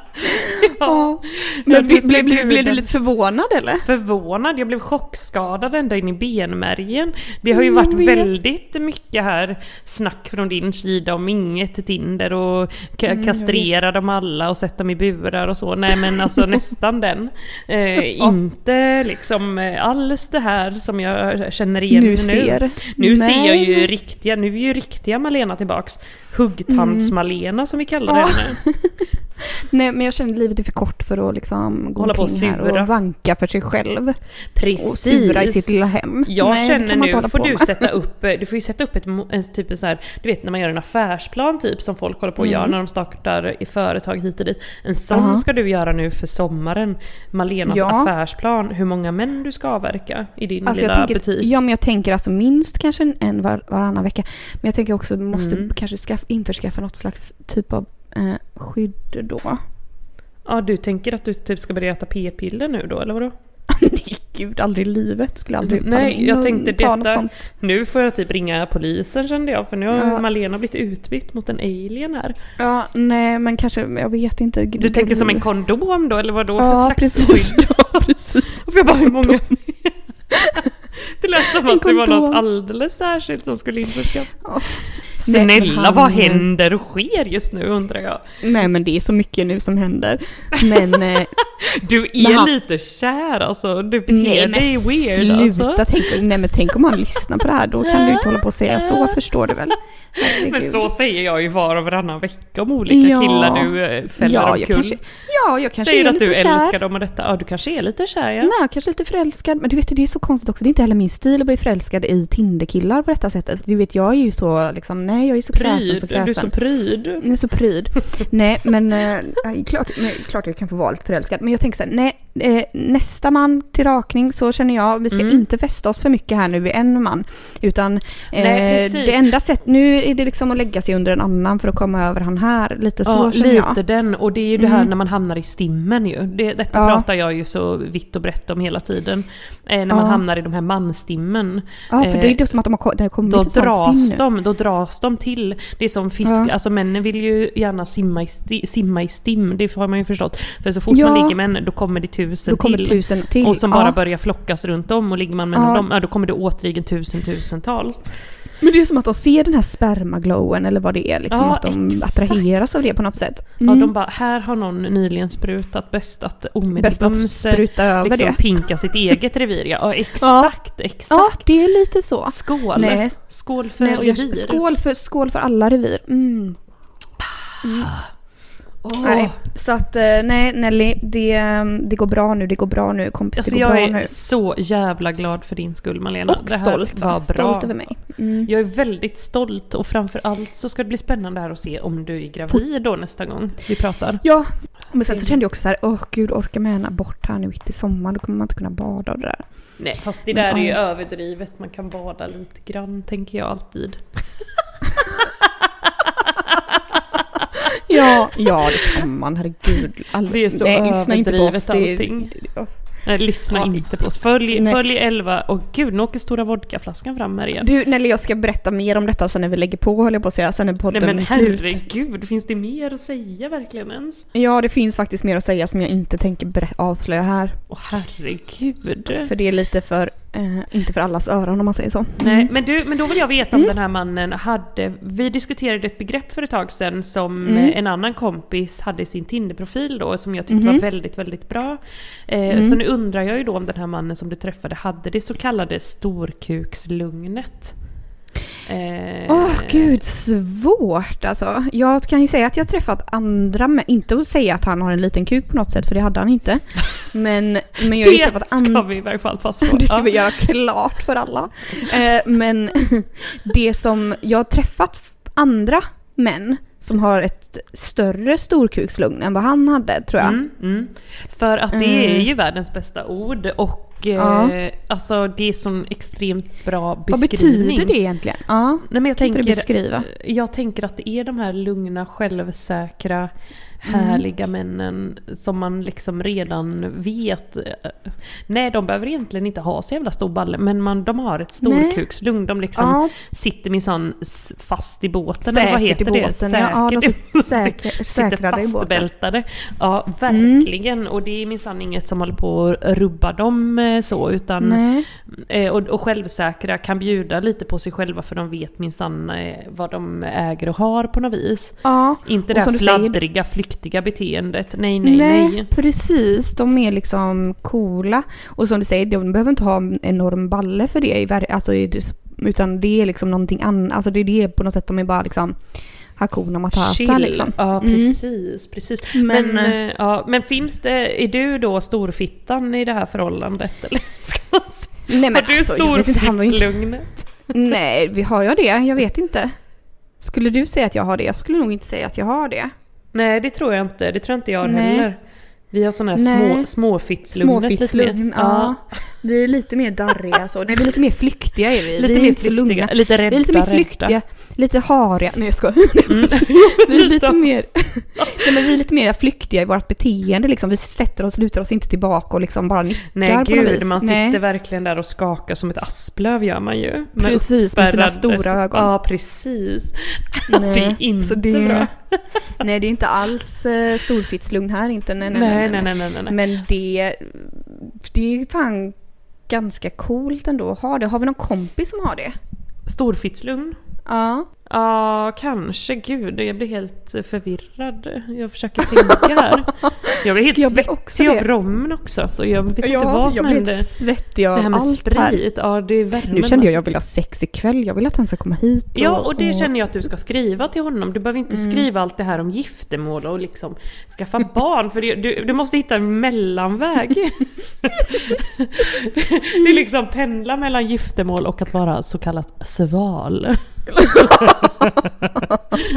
Ja,
Men
det
blev
ska
blev-
bli
blev- blev du
den.
lite förvånad eller?
Förvånad, jag blev chockskadad ända in i benmärgen. Det har ju varit
Mm, jag vet.
väldigt mycket här snack från din sida om inget Tinder och
Mm,
ka- kastrera dem alla och sätta dem i burar och så. Nej men alltså nästan den. Eh, inte liksom eh, alls det här som jag känner igen
Nu
nu.
ser.
Nu ser jag ju
Nej.
riktiga, nu är ju riktiga Malena tillbaks. Huggtands-Malena som vi kallar
Ja.
henne.
Nej men jag kände livet är för kort för att liksom gå
Hålla på och
omkring här
sura.
och vanka för sig själv. Och
Precis.
sura i sitt lilla hem.
Jag
Nej, det
känner
kan man inte
nu,
hålla
får
på
du
med.
sätta upp, eh, du får ju sätta upp ett, mo- en typ en så här, du vet när man gör en affärsplan typ som folk håller på att
Mm.
göra när de startar i företag hit och dit. En sån
Aha.
ska du göra nu för sommaren. Malenas
Ja.
affärsplan, hur många män du ska avverka i din
Alltså jag
lilla
tänker,
butik.
ja men jag tänker alltså minst kanske en- en var, varannan vecka. Men jag tänker också måste
Mm.
kanske skaff, införskaffa något slags typ av eh, skydd då.
Ja, du tänker att du typ ska börja äta p-piller nu då eller vadå?
Nej gud, aldrig i livet. Skulle aldrig falla
Nej,
in
jag
och
tänkte
ta något
detta-
sånt.
Nu får jag typ ringa polisen kände jag för nu har
Ja.
Malena blivit utbytt mot en alien här.
Ja, nej men kanske, jag vet inte.
Du tänker som en kondom då eller vadå för
Ja,
slags skydd?
precis. Ja, precis.
Och jag bara, hur många... det lät som
En
att det var
kondom.
något alldeles särskilt som skulle införskaffas.
Ja. Nej, men
Snälla,
han-
vad händer och sker just nu undrar jag?
Nej men det är så mycket nu som händer. Men, eh,
Du
Men
är
han-
lite kär alltså, du
nej
beter
men
dig weird
sluta.
alltså.
Tänk, nej men tänk om han lyssnar på det här, då kan du inte hålla på och säga så, förstår du väl? Herregud.
Men så säger jag ju var och varannan vecka om olika
Ja.
killar du eh, fäller
ja, jag
omkull.
kanske, ja, jag kanske
säger
är
att
lite
du
kär.
älskar dem och detta. Ja, du kanske är lite kär ja.
Nej, jag kanske är lite förälskad. Men du vet, det är så konstigt också. Det är inte heller min stil att bli förälskad i Tinderkillar på detta sättet. Du vet, jag är ju så liksom, nej jag är så kräsen, så kräsen.
Pryd, du är så pryd.
Jag är så pryd. nej, men eh, nej, klart, men, klart jag kan få vara lite förälskad. Men jag tänker så här, nej, eh, nästa man till rakning så känner jag, vi ska
Mm.
inte fästa oss för mycket här nu vid en man. Utan eh,
Nej, precis.
det enda sätt, nu är det liksom att lägga sig under en annan för att komma över han här. Lite så
Ja,
känner
lite
jag. Mm.
den. Och det är ju det här när man hamnar i stimmen ju. Det, detta
Ja.
pratar jag ju så vitt och brett om hela tiden. Eh, när man
Ja.
hamnar i de här manstimmen.
Ja, för det är
eh,
ju som att de har, ko- det har kommit
då
ett sånt
dras,
stim nu.
de, då dras de till. Det är som fisk,
Ja.
alltså männen vill ju gärna simma i, sti, simma i stim, det har man ju förstått. För så fort
Ja.
man ligger med en, då kommer det tusen
Då kommer
till.
tusen till.
Och som bara
Ja.
börjar flockas runt om och ligger man mellan
Ja.
dem, ja, då kommer det återigen tusen tusental.
Men det är som att de ser den här spermaglowen eller vad det är. Liksom,
Ja,
att de
exakt.
attraheras av det på något sätt. Mm.
Ja, de bara, här har någon nyligen sprutat, bäst att
Bäst att
omedelbums eh,
spruta över
liksom
det.
pinka sitt eget revir. Ja, Ja, exakt,
Ja,
exakt.
det är lite så.
Skål!
Nej.
Skål för
Nej, och
revir.
jag, skål, för, skål för alla revir. Mm.
Åh.
Nej, så att eh, nej Nelly, det, eh, det går bra nu, det går bra nu kompis,
Alltså
det går
jag
bra
är
nu.
så jävla glad för din skull Malena.
Och
Det här
stolt,
var bra.
stolt över mig. Mm.
Jag är väldigt stolt och framförallt så ska det bli spännande här att se om du är gravid då nästa gång vi pratar.
Ja, men sen så kände jag också så här, åh gud orkar man gärna bort här nu mitt i sommaren, då kommer man inte kunna bada och det där.
Nej fast det
Men,
där är ju
ja.
överdrivet, man kan bada lite grann tänker jag alltid.
Ja, ja det kan man, herregud. All...
Det är så
nej, lyssna inte på oss,
överdrivet
det är-
allting.
ja.
Nej, lyssna
Ja.
inte på oss. Följ,
Nej.
följ 11, och gud nu åker stora vodkaflaskan fram här igen.
Du Nelly, jag ska berätta mer om detta sen när vi lägger på höll jag på att säga, sen när
Nej
podden
men
är slut.
herregud, finns det mer att säga verkligen ens?
Ja, det finns faktiskt mer att säga som jag inte tänker berä- avslöja här.
Åh herregud.
För det är lite för, eh, inte för allas öron om man säger så.
Nej, men, du, men då vill jag veta om
Mm.
den här mannen hade... Vi diskuterade ett begrepp för ett tag sedan som
Mm.
eh, en annan kompis hade i sin Tinder-profil då som jag tyckte
Mhm.
var väldigt, väldigt bra. Eh,
Mm.
Så nu undrar jag ju då om den här mannen som du träffade hade det så kallade storkukslugnet. Eh,
Åh gud, svårt alltså. Jag kan ju säga att jag har träffat andra, men inte att säga att han har en liten kuk på något sätt, för det hade han inte. Men, men jag har ju
Det
träffat
ska
andra.
vi i varje fall fastslå.
Det ska vi
Ja.
göra klart för alla. Eh, men det som jag har träffat f- andra män som har ett större storkukslugn än vad han hade tror jag.
Mm, mm. För att det
Mm.
är ju världens bästa ord och eh,
Ja.
alltså det är sån extremt bra
Vad
beskrivning.
betyder det egentligen? Ja,
Nej, men jag
kan inte du
tänker,
beskriva?
Jag tänker att det är de här lugna, självsäkra,
Mm.
härliga männen som man liksom redan vet. eh, Nej, de behöver egentligen inte ha så jävla stor balle, men man, de har ett
Nej.
storkukslugn. De liksom
Ja.
sitter minsann s- fast i båten, eller
Säkert
vad heter
i båten.
det?
ja. Ja, de
Säkert.
sitter säkra,
Sitter
säkrade i båten. Mm.
fastbältade. Ja, verkligen. Och det är minsann inget som håller på att rubba dem eh, så, utan
Nej.
Eh, och, och självsäkra kan bjuda lite på sig själva för de vet minsann eh, vad de äger och har på något vis.
Ja.
Inte
Och
det
som
här
du säger-
fladdriga, flyktiga beteendet. Nej, nej, nej.
precis. De är liksom coola. Och som du säger, de behöver inte ha en enorm balle för det. i ver- Alltså, i det- utan det är liksom någonting annat. Alltså det är det på något sätt, de är bara liksom Hakuna Matata
Chill.
liksom.
Ja,
Mm.
precis. precis. Men,
Men-
eh, ja, men finns det, är du då storfittan i det här förhållandet? Eller ska man säga?
Nej men
Har du
alltså, jag vet inte, han var ju inte...
storfittslugnet?
Nej, vi- har jag det? Jag vet inte. Skulle du säga att jag har det? Jag skulle nog inte säga att jag har det.
Nej, det tror jag inte. Det tror inte jag
Nej.
heller. Vi har sån här
Nej.
små, småfittslugnet. lite mer.
Småfittslugn, ja. Vi är lite mer darriga så. Nej, vi är lite mer flyktiga är vi. vi
Lite
är
mer
inte så lugna.
flyktiga, lite rädda.
Vi är lite mer
rädda. Mm.
flyktiga, lite hariga. Nej jag skojar. vi är lite mer, nej, men vi är lite mer flyktiga i vårt beteende liksom. Vi sätter oss, lutar oss inte tillbaka och liksom bara nickar
Nej
på något
gud,
vis.
man
Nej.
sitter verkligen där och skakar som ett asplöv gör man ju.
Precis, med sina
uppspärrad-
stora ögon.
Ja precis. det är inte
så det-
bra.
Nej det är inte alls uh, storfittslugn här inte. Nej nej nej.
Nej nej nej nej. nej, nej.
Men det, det är fan ganska coolt ändå att ha det. Har vi någon kompis som har det?
Storfittslugn?
Ja.
Ja kanske, gud jag blir helt förvirrad. Jag försöker tänka här. Jag blir helt
Jag blir också
svettig
det.
av rommen också så jag vet inte vad som
jag blir
hände.
helt svettig av
Det här med
allt här.
sprit, ja det är värmen.
Nu kände jag
alltså.
jag vill ha sex ikväll, jag vill att han ska komma hit. Och, Mm.
Ja, och det känner jag att du ska skriva till honom. Du behöver inte skriva allt det här om giftermål och liksom skaffa barn. För det, du, du måste hitta en mellanväg. det är liksom pendla mellan giftermål och att vara så kallat sval.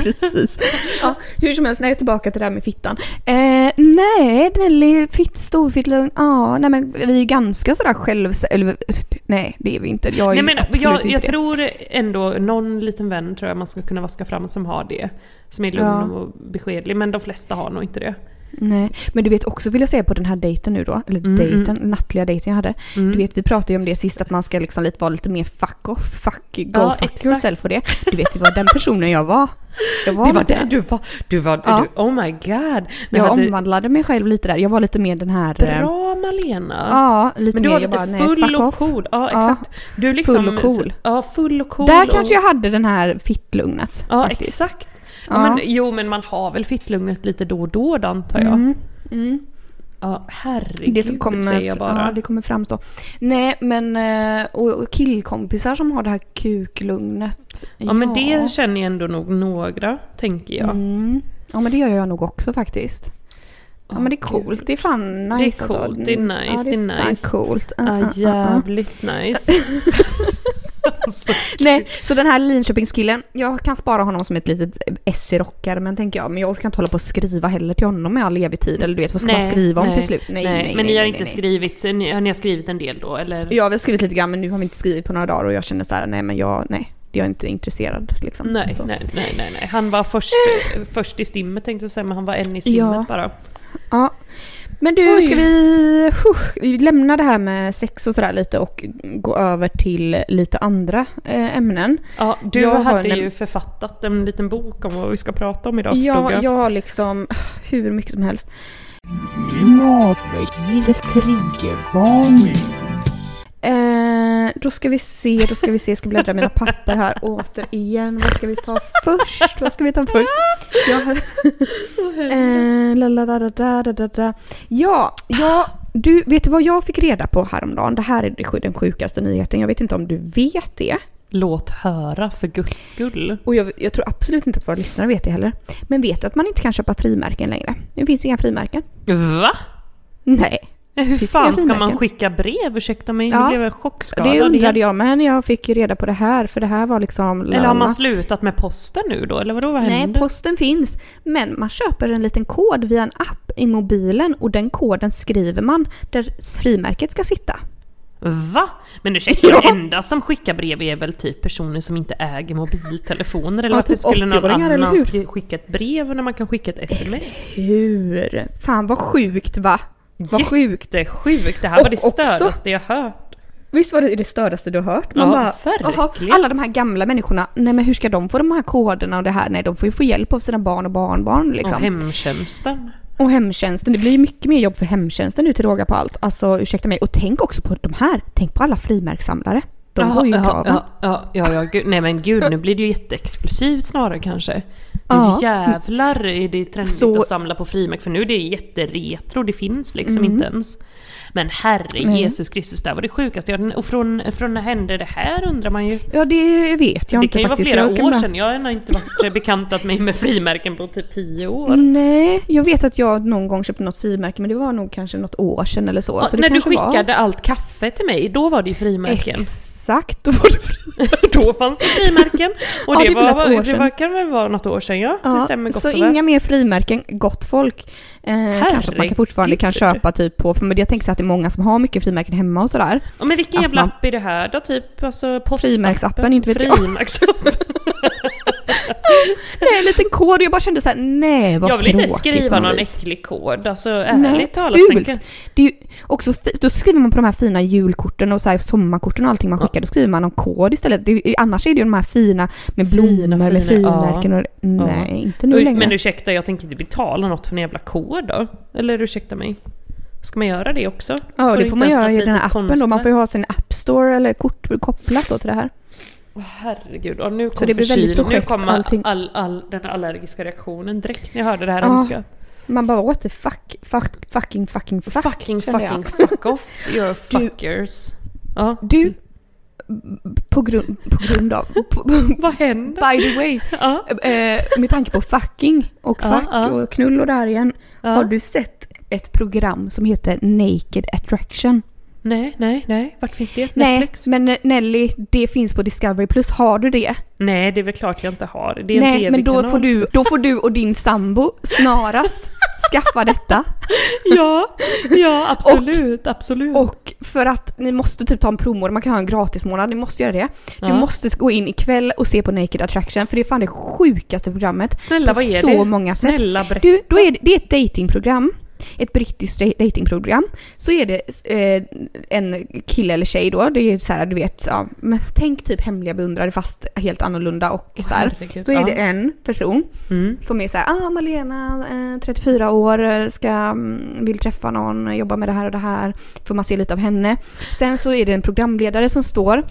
Precis. Ja, hur som helst, när jag är tillbaka till det här med fittan. Eh, nej, Nelly, fitt, storfittlugn, ja, nej men vi är ganska sådär själv... Eller, nej, det är vi inte. Jag är
Nej,
ju
men
absolut
jag,
inte
jag
det.
tror ändå någon liten vän tror jag man ska kunna vaska fram som har det. Som är lugn
Ja.
och beskedlig. Men de flesta har nog inte det.
Nej, men du vet också vill jag säga på den här dejten nu då, eller
Mm,
dejten, nattliga dejten jag hade.
Mm.
Du vet vi pratade ju om det sist att man ska liksom lite vara lite mer fuck off, fuck, go
Ja,
fuck
exakt.
yourself och det. Du vet det var den personen jag var. Jag var,
det var
lite-
det du var. Du var,
Ja.
du, oh my god. Men
Jag
hade-
omvandlade mig själv lite där. Jag var lite mer den här... eh,
Bra Malena.
Ja, lite
Men du
mer.
var
jag
lite
bara, nej,
full
fuck
och
off.
cool. Ja,
Ja.
exakt. Du liksom,
Full och cool.
Ja, full och cool.
Där
och,
kanske jag hade den här fittlugnet.
Ja,
faktiskt.
exakt. Ja.
Ja.
men, jo, men man har väl fittlugnet lite då och då då, antar jag.
Mm, mm.
Ja, herregud
Det som kommer,
säger jag bara.
Ja, det kommer fram då. Nej, men eh, och och killkompisar som har det här kuklugnet.
Ja, men det känner jag ändå nog några, tänker jag.
Mm. Ja, men det gör jag nog också faktiskt. Ja,
Åh,
men det är
gud.
coolt. Det är fan nice. alltså.
coolt, det är nice,
Ja, det
det
är
är
fan
nice.
coolt. Uh, uh,
Ja,
uh, uh.
Ah, jävligt nice. alltså,
Nej, så den här Linköpingskillen, jag kan spara honom som ett litet S i rockare men tänker jag, men jag orkar inte hålla på och skriva heller till honom i all evig tid. Eller du vet, vad ska man
nej,
skriva om
nej,
till slut? Nej, nej, nej
Men ni
nej,
har
nej,
inte
nej.
skrivit, ni, har ni skrivit en del då eller?
Ja, vi har skrivit lite grann men nu har vi inte skrivit på några dagar och jag känner så här, nej men jag, nej, jag är inte intresserad liksom.
Nej,
så.
nej, nej, nej, nej. Han var först, först i stimmet tänkte jag säga, men han var en i stimmet
Ja.
bara.
Ja. Men du,
Oj.
ska vi, huh, vi lämna det här med sex och sådär lite och gå över till lite andra eh, ämnen.
Ja, du
Jag har
hade
näm-
ju författat en liten bok om vad vi ska prata om idag förstod
Ja,
jag.
jag har liksom hur mycket som helst.
Klimatveckans triggervarning.
Eh, då ska vi se, då ska vi se, jag ska bläddra i mina papper här återigen. Vad ska vi ta först? Vad ska vi ta först? Jag har... eh, la, la, la, la, la, la, la, la. ja, ja, du, vet du vad jag fick reda på häromdagen? Det här är den sjukaste nyheten. Jag vet inte om du vet det.
Låt höra för guds skull.
Och jag, jag tror absolut inte att våra lyssnare vet det heller. Men vet du att man inte kan köpa frimärken längre? Det finns inga frimärken.
Va?
Nej.
Hur
Finns
fan
inga
ska man
frimärken?
skicka brev? Ursäkta mig,
Ja,
nu blev jag chockskadad.
det undrade
igen.
jag med när jag fick ju reda på det här, för det här var liksom...
Eller har man
lalala.
slutat med posten nu då? Eller vadå, vad
Nej,
händer?
posten finns. Men man köper en liten kod via en app i mobilen och den koden skriver man där frimärket ska sitta.
Va? Men ursäkta,
Ja.
ja. enda som skickar brev är väl typ personer som inte äger mobiltelefoner? Eller
Ja,
varför
typ
skulle någon
80-åringar, eller
annan
hur?
skri- skicka ett brev när man kan skicka ett sms?
Hur? Fan vad sjukt va? Vad sjukt.
Jättesjukt! Det här
Och
var det
också-
störigaste jag hört.
Visst var det det störaste du har hört?
Ja,
"Jaha,
verkligen."
alla de här gamla människorna, nej men hur ska de få de här koderna och det här? Nej, de får ju få hjälp av sina barn och barnbarn liksom.
Och hemtjänsten.
Och hemtjänsten, det blir ju mycket mer jobb för hemtjänsten nu till råga på allt. Alltså ursäkta mig, och tänk också på de här, tänk på alla frimärkssamlare. De får ju inte
ja,
av den.
ja, ja, ja, ja, gud. Nej men gud, nu blir det ju jätteexklusivt snarare kanske. Nu
Ja.
jävlar är det trendigt
Så-
att samla på frimärken, för nu är det jätteretro, det finns liksom inte ens. Men herre
Mm. Nej.
Jesus Kristus, det här var det sjukaste jag... Och från, från när hände det här undrar man ju.
Ja, det vet jag
det
inte
kan ju vara
faktiskt.
flera
Jag kan
år
bara-
sedan, jag har ännu inte varit bekantat mig med frimärken på typ tio år.
Mm. Nej, jag vet att jag någon gång köpte något frimärke men det var nog kanske något år sedan eller så.
Ja,
så Alltså, det
när du
kanske var-
skickade allt kaffe till mig, då var det ju frimärken.
Exakt, då var det
Då fanns det frimärken. Och
Ja,
det,
det är väl
var,
ett år
det
sedan.
var, kan väl vara något år sedan ja. det stämmer gott
så
och väl.
inga mer frimärken, gott folk. Eh, kanske att man kan fortfarande kan
Herregud.
köpa typ på, för men jag tänker så att det är många som har mycket frimärken hemma och sådär.
Ja, men vilken
Alltså,
jävla
man-
app är det här då? Typ alltså postappen?
Frimärksappen, inte vet jag.
Frimärksappen.
Nej, en liten kod och jag bara kände så här: nej vad
Jag vill inte
tråkigt
skriva
på något
någon
vis.
äcklig kod, alltså
Nej,
ärligt talat. sen kan-
fult. Det är ju också fult. Då skriver man på de här fina julkorten och så här sommarkorten och allting man skickar, då skriver man någon kod istället. Det, är- annars är det ju de här fina med
Fina,
blommor eller
fina, ja.
frimärken och, Nej, inte nu
Oj,
längre.
Men ursäkta, jag tänker inte betala något för en jävla kod då. Eller ursäkta mig. Ska man göra det också?
Ja, det
inte
får man
ens
göra
något
i den här
litet
appen då.
konstverk?
Man får ju ha sin app store eller kort kopplat då till det här.
Åh, herregud, och nu kom
det blir väldigt
förkylning. Nu
projekt,
kom
allting.
all, all, all, den här allergiska reaktionen direkt när jag hörde det här
Ja.
hemska.
Man bara what the fuck, fuck fucking fucking fuck.
fucking
kände
fucking
jag.
fuck off your fuckers. Ja.
Du,
Mm.
på grund, på grund av, på,
Vad händer?
by the way,
Ja.
eh, med tanke på fucking och
Ja,
fuck
ja.
och knull och det här igen.
Ja.
Har du sett ett program som heter Naked Attraction?
Nej, nej, nej. Vart finns det?
Nej,
Netflix?
men eh, Nelly, det finns på Discovery+. Plus. Har du det?
Nej, det är väl klart jag inte har. Det är en
Nej, men då
TV-kanal.
får, du, då får du och din sambo snarast skaffa detta.
Ja, ja absolut, absolut.
Och för att ni måste typ ta en promo, man kan ha en gratis månad, ni måste göra det. Du
Ja.
måste gå in ikväll och se på Naked Attraction för det är fan det sjukaste programmet. på
Snälla, vad är
så
det?
många sätt.
Snälla, berätta.
Du, då är det, det är ett datingprogram. Ett brittiskt dej- datingprogram. Så är det eh, en kille eller tjej då, det är så här, du vet, ja, men tänk typ hemliga beundrare fast helt annorlunda och
Åh,
så här.
herregud,
Då är
ja.
det en person
Mm.
som är så här, ah Malena, eh, 34 år, eh, ska, mm, vill träffa någon, jobba med det här och det här. Får man se lite av henne. Sen så är det en programledare som står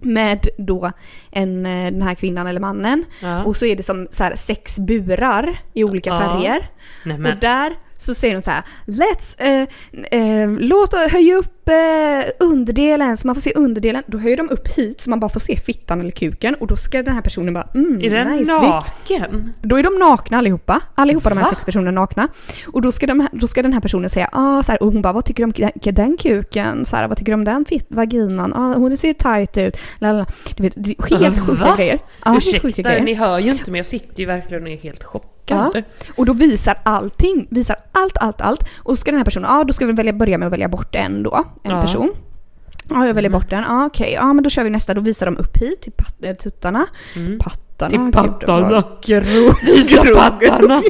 med då en, eh, den här kvinnan eller mannen.
Ja.
Och så är det som så här sex burar i olika
Ja.
färger.
Nej,
Och
men.
där så säger de så här, let's, eh, eh, låt höja upp eh, underdelen så man får se underdelen. Då höjer de upp hit så man bara får se fittan eller kuken och då ska den här personen bara, mm,
Är den
nice dick."
naken?
Då är de nakna allihopa. Allihopa de här
Va?
sex personerna är nakna. Och då ska, de, då ska den här personen säga ah, så här, och hon bara vad tycker du om den- den kuken? Så här, vad tycker du om den fit- vaginan? Ah, hon ser tight ut. Lalala. Du vet, det är helt sjuka
Va?
grejer. Ja, helt sjuka
Ursäkta,
grejer.
ni hör ju inte men jag sitter ju verkligen och är helt chockad.
Ja. Och då visar allting, visar allt, allt, allt. Och så ska den här personen, ja då ska vi välja, börja med att välja bort en då, en
Ja.
person. Ja, jag väljer bort den. Ja, okej. Ja, men då kör vi nästa. Då visar de upp hit till pat- eh, tuttarna. Pattarna. Till pattarna. Visa pattarna.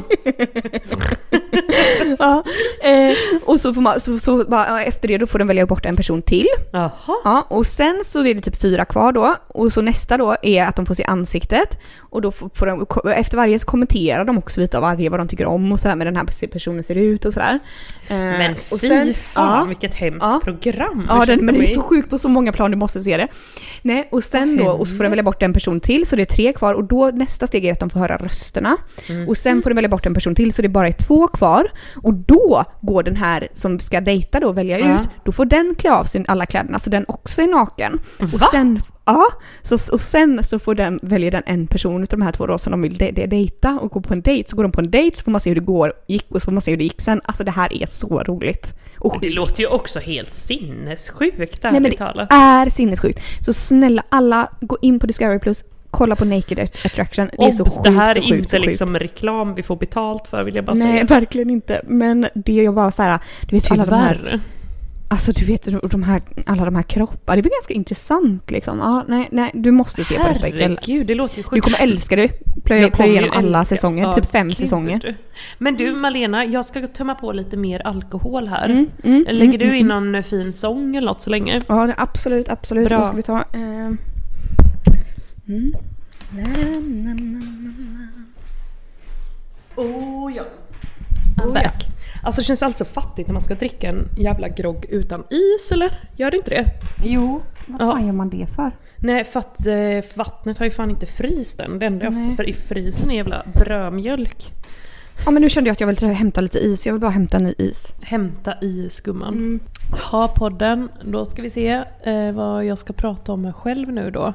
ja. eh, och så får man, så, så bara, ja, efter det då får de välja bort en person till.
Jaha.
Ja, och sen så är det typ fyra kvar då. Och så nästa då är att de får se ansiktet. Och då får får de, ko- efter varje så kommenterar de också lite av varje vad de tycker om och så här med den här personen ser ut och sådär. Eh,
Men fy
och sen-
fan
ja.
vilket hemskt
Ja.
program.
Ja,
Mm, ursäkta
den, men det är
mig.
så sjukt på så många plan, du måste se det. Nej, och sen
Vad
då, och så får de välja bort en person till så det är tre kvar och då nästa steg är att de får höra rösterna.
Mm.
Och sen får de välja bort en person till så det bara är två kvar. Och då går den här som ska dejta då, välja
Ja.
ut, då får den klä av sig alla kläderna så den också är naken. Och sen, ja, så, och sen så får den, väljer den en person utav de här två då som de vill de, de, dejta och gå på en dejt. Så går de på en dejt så får man se hur det går, gick och så får man se hur det gick sen. Alltså det här är så roligt. Och
Det
sjukt.
låter ju också helt sinnessjukt
Nej men
ärligt
det
talat.
är sinnessjukt. Så snälla alla, gå in på Discovery Plus, kolla på Naked Att- Attraction. Det är så
Obs,
sjukt,
det här
så
är
sjukt, så
inte
sjukt.
liksom reklam vi får betalt för vill jag bara
Nej,
säga.
verkligen inte. Men det är ju bara så här, du vet alla de här,
Tyvärr.
alltså du vet de här, alla de här kroppar. Det är väl ganska intressant liksom. Ja, nej, nej, du måste se på detta ikväll.
Herregud, det låter ju sjukt.
Du kommer älska det. Plöja
Jag
plöja
kommer ju
igenom alla
älska-
säsonger,
Ja,
typ fem
gud.
säsonger.
Men du Malena, jag ska tömma på lite mer alkohol här.
Mm.
Lägger du in någon fin sång eller något så länge?
Ja, det- absolut, absolut.
Bra.
Vad ska vi ta? Eh, Mm. Na, na, na, na.
Oh ja. I'm back. Alltså det känns alltså fattigt när man ska dricka en jävla grogg utan is eller? Gör det inte det?
Jo, vad
Ja.
fan gör man det för?
Nej för att eh, för vattnet har ju fan inte fryst än. Det enda jag
Nej.
får i frysen är jävla brödmjölk.
Ja men nu kände jag att jag ville hämta lite is, jag vill bara hämta en ny is.
Hämta i skumman. Ha podden, då ska vi se eh, vad jag ska prata om själv nu då.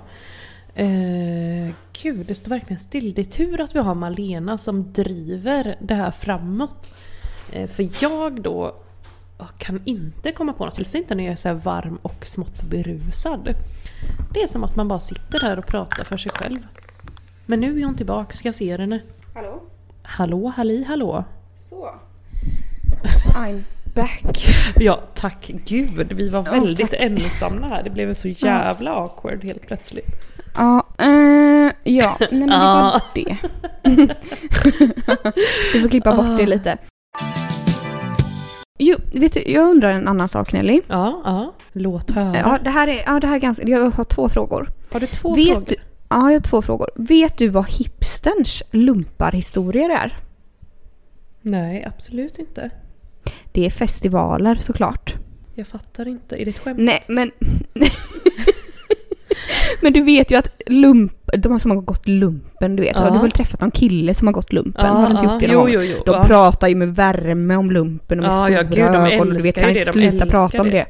Eh, gud, det står verkligen still. Det är tur att vi har Malena som driver det här framåt. Eh, för jag då jag kan inte komma på något, speciellt inte när jag är så här varm och smått berusad. Det är som att man bara sitter där och pratar för sig själv. Men nu är hon tillbaka, ska jag se henne.
Hallå?
Hallå, halli, hallå.
Så. I'm back.
Ja, tack gud. Vi var väldigt
tack.
ensamma här. Det blev så jävla awkward helt plötsligt.
Ja, eh, ja. Nej men det var
Ja.
det. Vi får klippa bort det lite. Jo, vet du, jag undrar en annan sak Nelly.
Ja, ja. Låt höra.
Ja, det här är, ja, det här är ganska, jag har två frågor.
Har du två
Vet
frågor?
du, ja, jag har två frågor. Vet du vad hipsterns lumparhistorier är?
Nej, absolut inte.
Det är festivaler såklart.
Jag fattar inte. Är det ett skämt?
Nej, men... men du vet ju att lump, de som har gått lumpen, du vet. Har
Ja.
du väl träffat någon kille som har gått lumpen?
Ja,
har du inte
ja.
gjort det någon
Jo,
gång?
jo, jo.
De
Ja.
pratar ju med värme om lumpen och med
Ja,
stora
ja, gud, de
ögon. och Du vet,
älskar
kan
ju
inte
det, de
sluta prata om
älskar
det.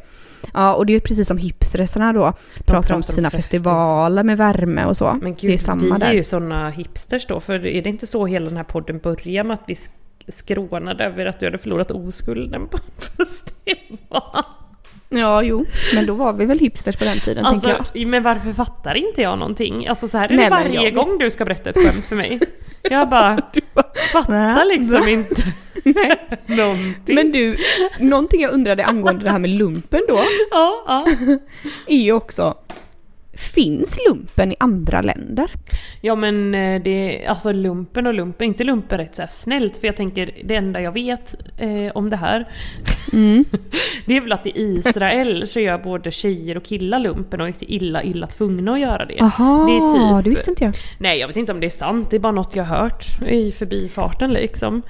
Ja, och det är ju precis som hipstresarna då. pratar om
pratar om
sina
fest-
festivaler med värme och så.
Men gud,
det är samma
vi
där.
är ju såna hipsters då. För är det inte så hela den här podden börjar med att vi sk- skrånade över att du hade förlorat oskulden på en festival?
Ja, jo. Men då var vi väl hipsters på den tiden, tänker
Alltså,
jag.
men varför fattar inte jag någonting? Alltså så här är
Nej, men
det varje
jag-
gång du ska berätta ett skämt för mig. Jag bara fattar liksom inte någonting.
Men du, någonting jag undrade angående det här med lumpen då
Ja, ja.
är ju också, finns lumpen i andra länder?
ja men eh, det, alltså lumpen och lumpen, inte lumpen rätt så här snällt för jag tänker det enda jag vet eh, om det här Mm. det är väl att i Israel så gör både tjejer och killar lumpen och är illa illa tvungna att göra det.
Aha,
det är typ,
det visste inte jag.
Nej, jag vet inte om det är sant. Det är bara något jag har hört i förbifarten liksom.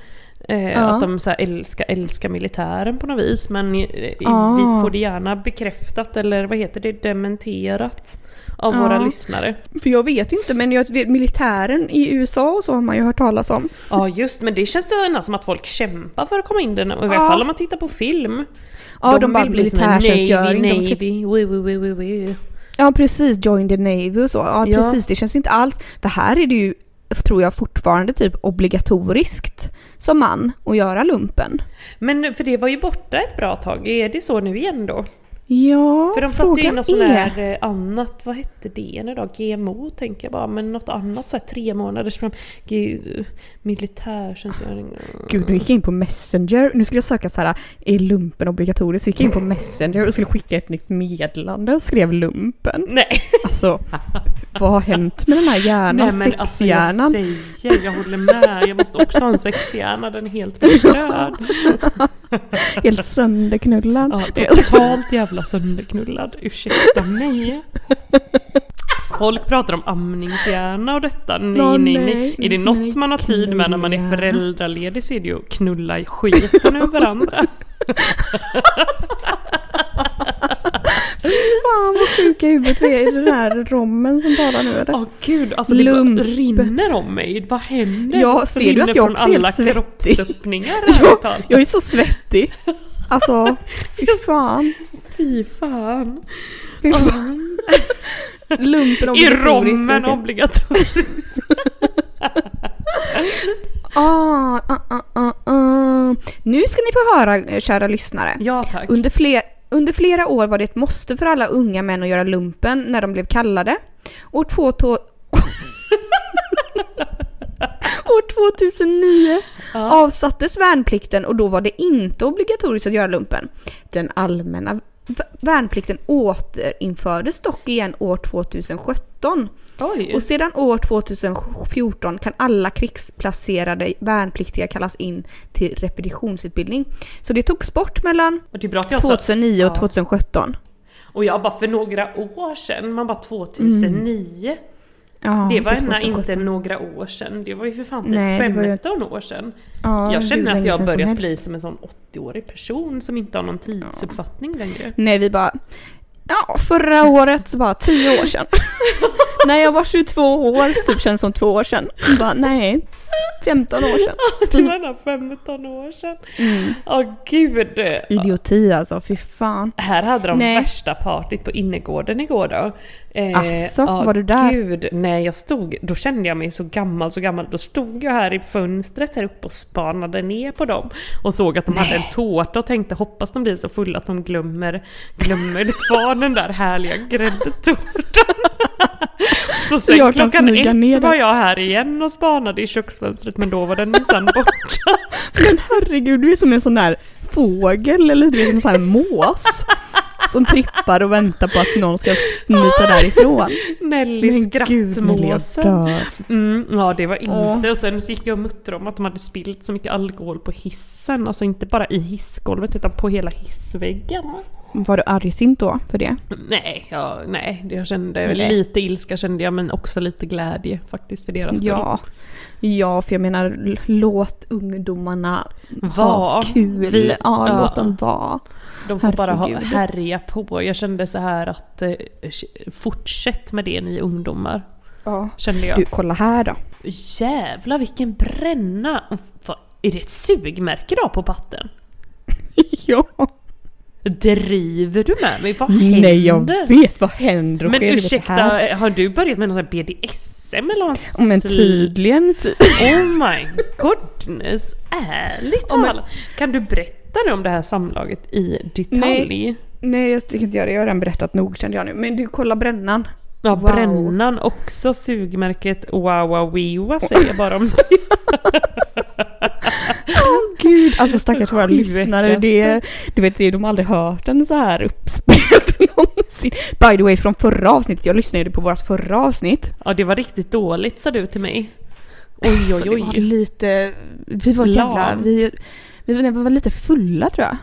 Eh,
Ja.
Att de så här älskar, älskar militären på något vis. Men eh,
Ah.
vi får det gärna bekräftat eller vad heter det? Dementerat. Av
Ja.
våra lyssnare.
För jag vet inte, men jag vet, militären i USA och så har man ju hört talas om.
Ja just men det känns nästan som att folk kämpar för att komma in den. I alla
Ja.
fall om man tittar på film.
Ja, de liksom bara,
såna här
militärtjänstgöring, de
Navy,
ska-
Navy, wee, wee, wee, wee, wee.
Ja precis, join the Navy och så. Ja,
Ja.
precis, det känns inte alls. För här är det ju, tror jag fortfarande typ obligatoriskt som man att göra lumpen.
Men för det var ju borta ett bra tag. Är det så nu igen då?
Ja,
För de satte ju in
frågan
något sån
är...
här eh, annat, vad hette det nu då? GMO tänker jag bara, men något annat så här tre månaders fram... G- Militärtjänstgöring...
Gud, nu gick jag in på Messenger. Nu skulle jag söka så här, är lumpen obligatoriskt? Så gick jag in på Messenger och skulle skicka ett nytt meddelande och skrev lumpen.
Nej,
Alltså, vad har hänt med den här hjärnan?
nej men alltså jag
Sexhjärnan?
säger, jag håller med. Jag måste också ha en sexhjärna, den är helt förstörd.
Helt sönderknullad.
Ja, totalt jävla sönderknullad, ursäkta mig. Folk pratar om amningshjärna och detta. Nej,
Ja,
nej,
nej,
nej. Är det något
nej,
man har tid med när man är
knullhjärna.
föräldraledig så är det ju att knulla i skiten ur varandra.
Fan vad sjuka i huvudet vi är. Är det den här rommen som talar nu eller?
Åh gud, alltså det bara
Lump.
rinner om mig. Vad händer?
Ja, ser du
Rinner
att jag
från
också är
alla
helt svettig?
kroppsöppningar ärligt
Jag,
talat.
jag är så svettig. Alltså, fy fan.
Fy fan.
Fy fan. Lumpen
I
obligatoriskt, ska vi
rommen
se.
obligatoriskt.
Ah, ah, ah, ah, ah. Nu ska ni få höra, eh, kära lyssnare.
Ja tack.
Under, fler, under flera år var det ett måste för alla unga män att göra lumpen när de blev kallade. År, två, to- år 2009 avsattes värnplikten och då var det inte obligatoriskt att göra lumpen. Den allmänna v- värnplikten återinfördes dock igen år 2017
Oj.
och sedan år 2014 kan alla krigsplacerade värnpliktiga kallas in till repetitionsutbildning. Så det togs bort mellan
Och det är bra att jag sa...
2009 och 2017.
Och jag bara för några år sedan, man bara 2009.
Mm. Ja,
Det var
till
ena,
2017.
inte några år sedan. Det var ju för fan
Nej,
typ
det var ju-
15 år sedan.
Ja,
jag
hur
känner att
länge
jag har
sedan som
börjat
helst.
bli som en sån 80-årig person som inte har någon tidsuppfattning längre.
Nej, vi bara... Ja, förra året så bara tio år sedan. När jag var 22 år, typ känns som två år sedan. Bara, nej, 15 år sedan.
Det var den här 15 år sedan.
Mm.
Åh gud!
Idioti alltså, fy fan.
Här hade de
Nej.
värsta partyt på innergården igår då. Eh,
Asså,
ja,
var du där?
Gud, när jag stod, då kände jag mig så gammal, så gammal. Då stod jag här i fönstret här uppe och spanade ner på dem. Och såg att de hade en tårta och tänkte hoppas de blir så fulla att de glömmer, glömmer det kvar den där härliga gräddtårtan. Så sen
jag kan
klockan
smyga
ett
ner den.
var jag här igen och spanade i köksfönstret men då var den minsann borta.
Men herregud, du är som en sån där fågel eller du är som en sån här mås. Som trippar och väntar på att någon ska smita därifrån.
Nelly
Nelly, jag
skrattmåsen.
dör.
Mm, ja det var inte.
Åh.
Och sen så gick jag och muttrade om att de hade spillt så mycket alkohol på hissen. Alltså inte bara i hissgolvet utan på hela hissväggen.
Var du argsint då för det?
Nej, ja, nej. det- Jag kände
Nej.
lite ilska kände jag men också lite glädje faktiskt för deras skull.
Ja. Ja, för jag menar l- låt ungdomarna ha
Va?
kul.
Vi-
ja,
ja.
låt dem vara.
De får bara ha,
Herregud.
härja på. Jag kände så här att eh, fortsätt med det ni ungdomar.
Ja.
Kände jag.
Du, kolla här då.
Jävlar vilken bränna! Och Vad, är det ett sugmärke då på patten?
ja.
Driver du med mig? Vad händer?
Nej, jag vet vad händer och
Men
sker i det
ursäkta,
här.
har du börjat med någon sån här BDSM eller någon
Ja, Men typ.
sl-
tydligen. ty-
Oh my goodness, ärligt talat. Kan du berätta nu om det här samlaget i detalj?
Nej. Nej, jag tänker inte göra det. Jag har redan berättat nog kände jag nu. Men du, kolla brännan.
Ja,
Wow.
brännan också. Sugmärket Wawawiwa säger jag bara om det.
Gud, alltså stackars våra
Sjukaste.
lyssnare. Det, är- du vet, det är- de har aldrig hört den så här uppspelt någonsin. By the way, från förra avsnittet. Jag lyssnade ju på vårt förra avsnitt.
Ja, det var riktigt dåligt sa du till mig. Oj,
Så
oj,
Alltså, det var
oj.
lite... Vi var jävla...
Lamt.
Vi, vi, vi var lite fulla tror jag.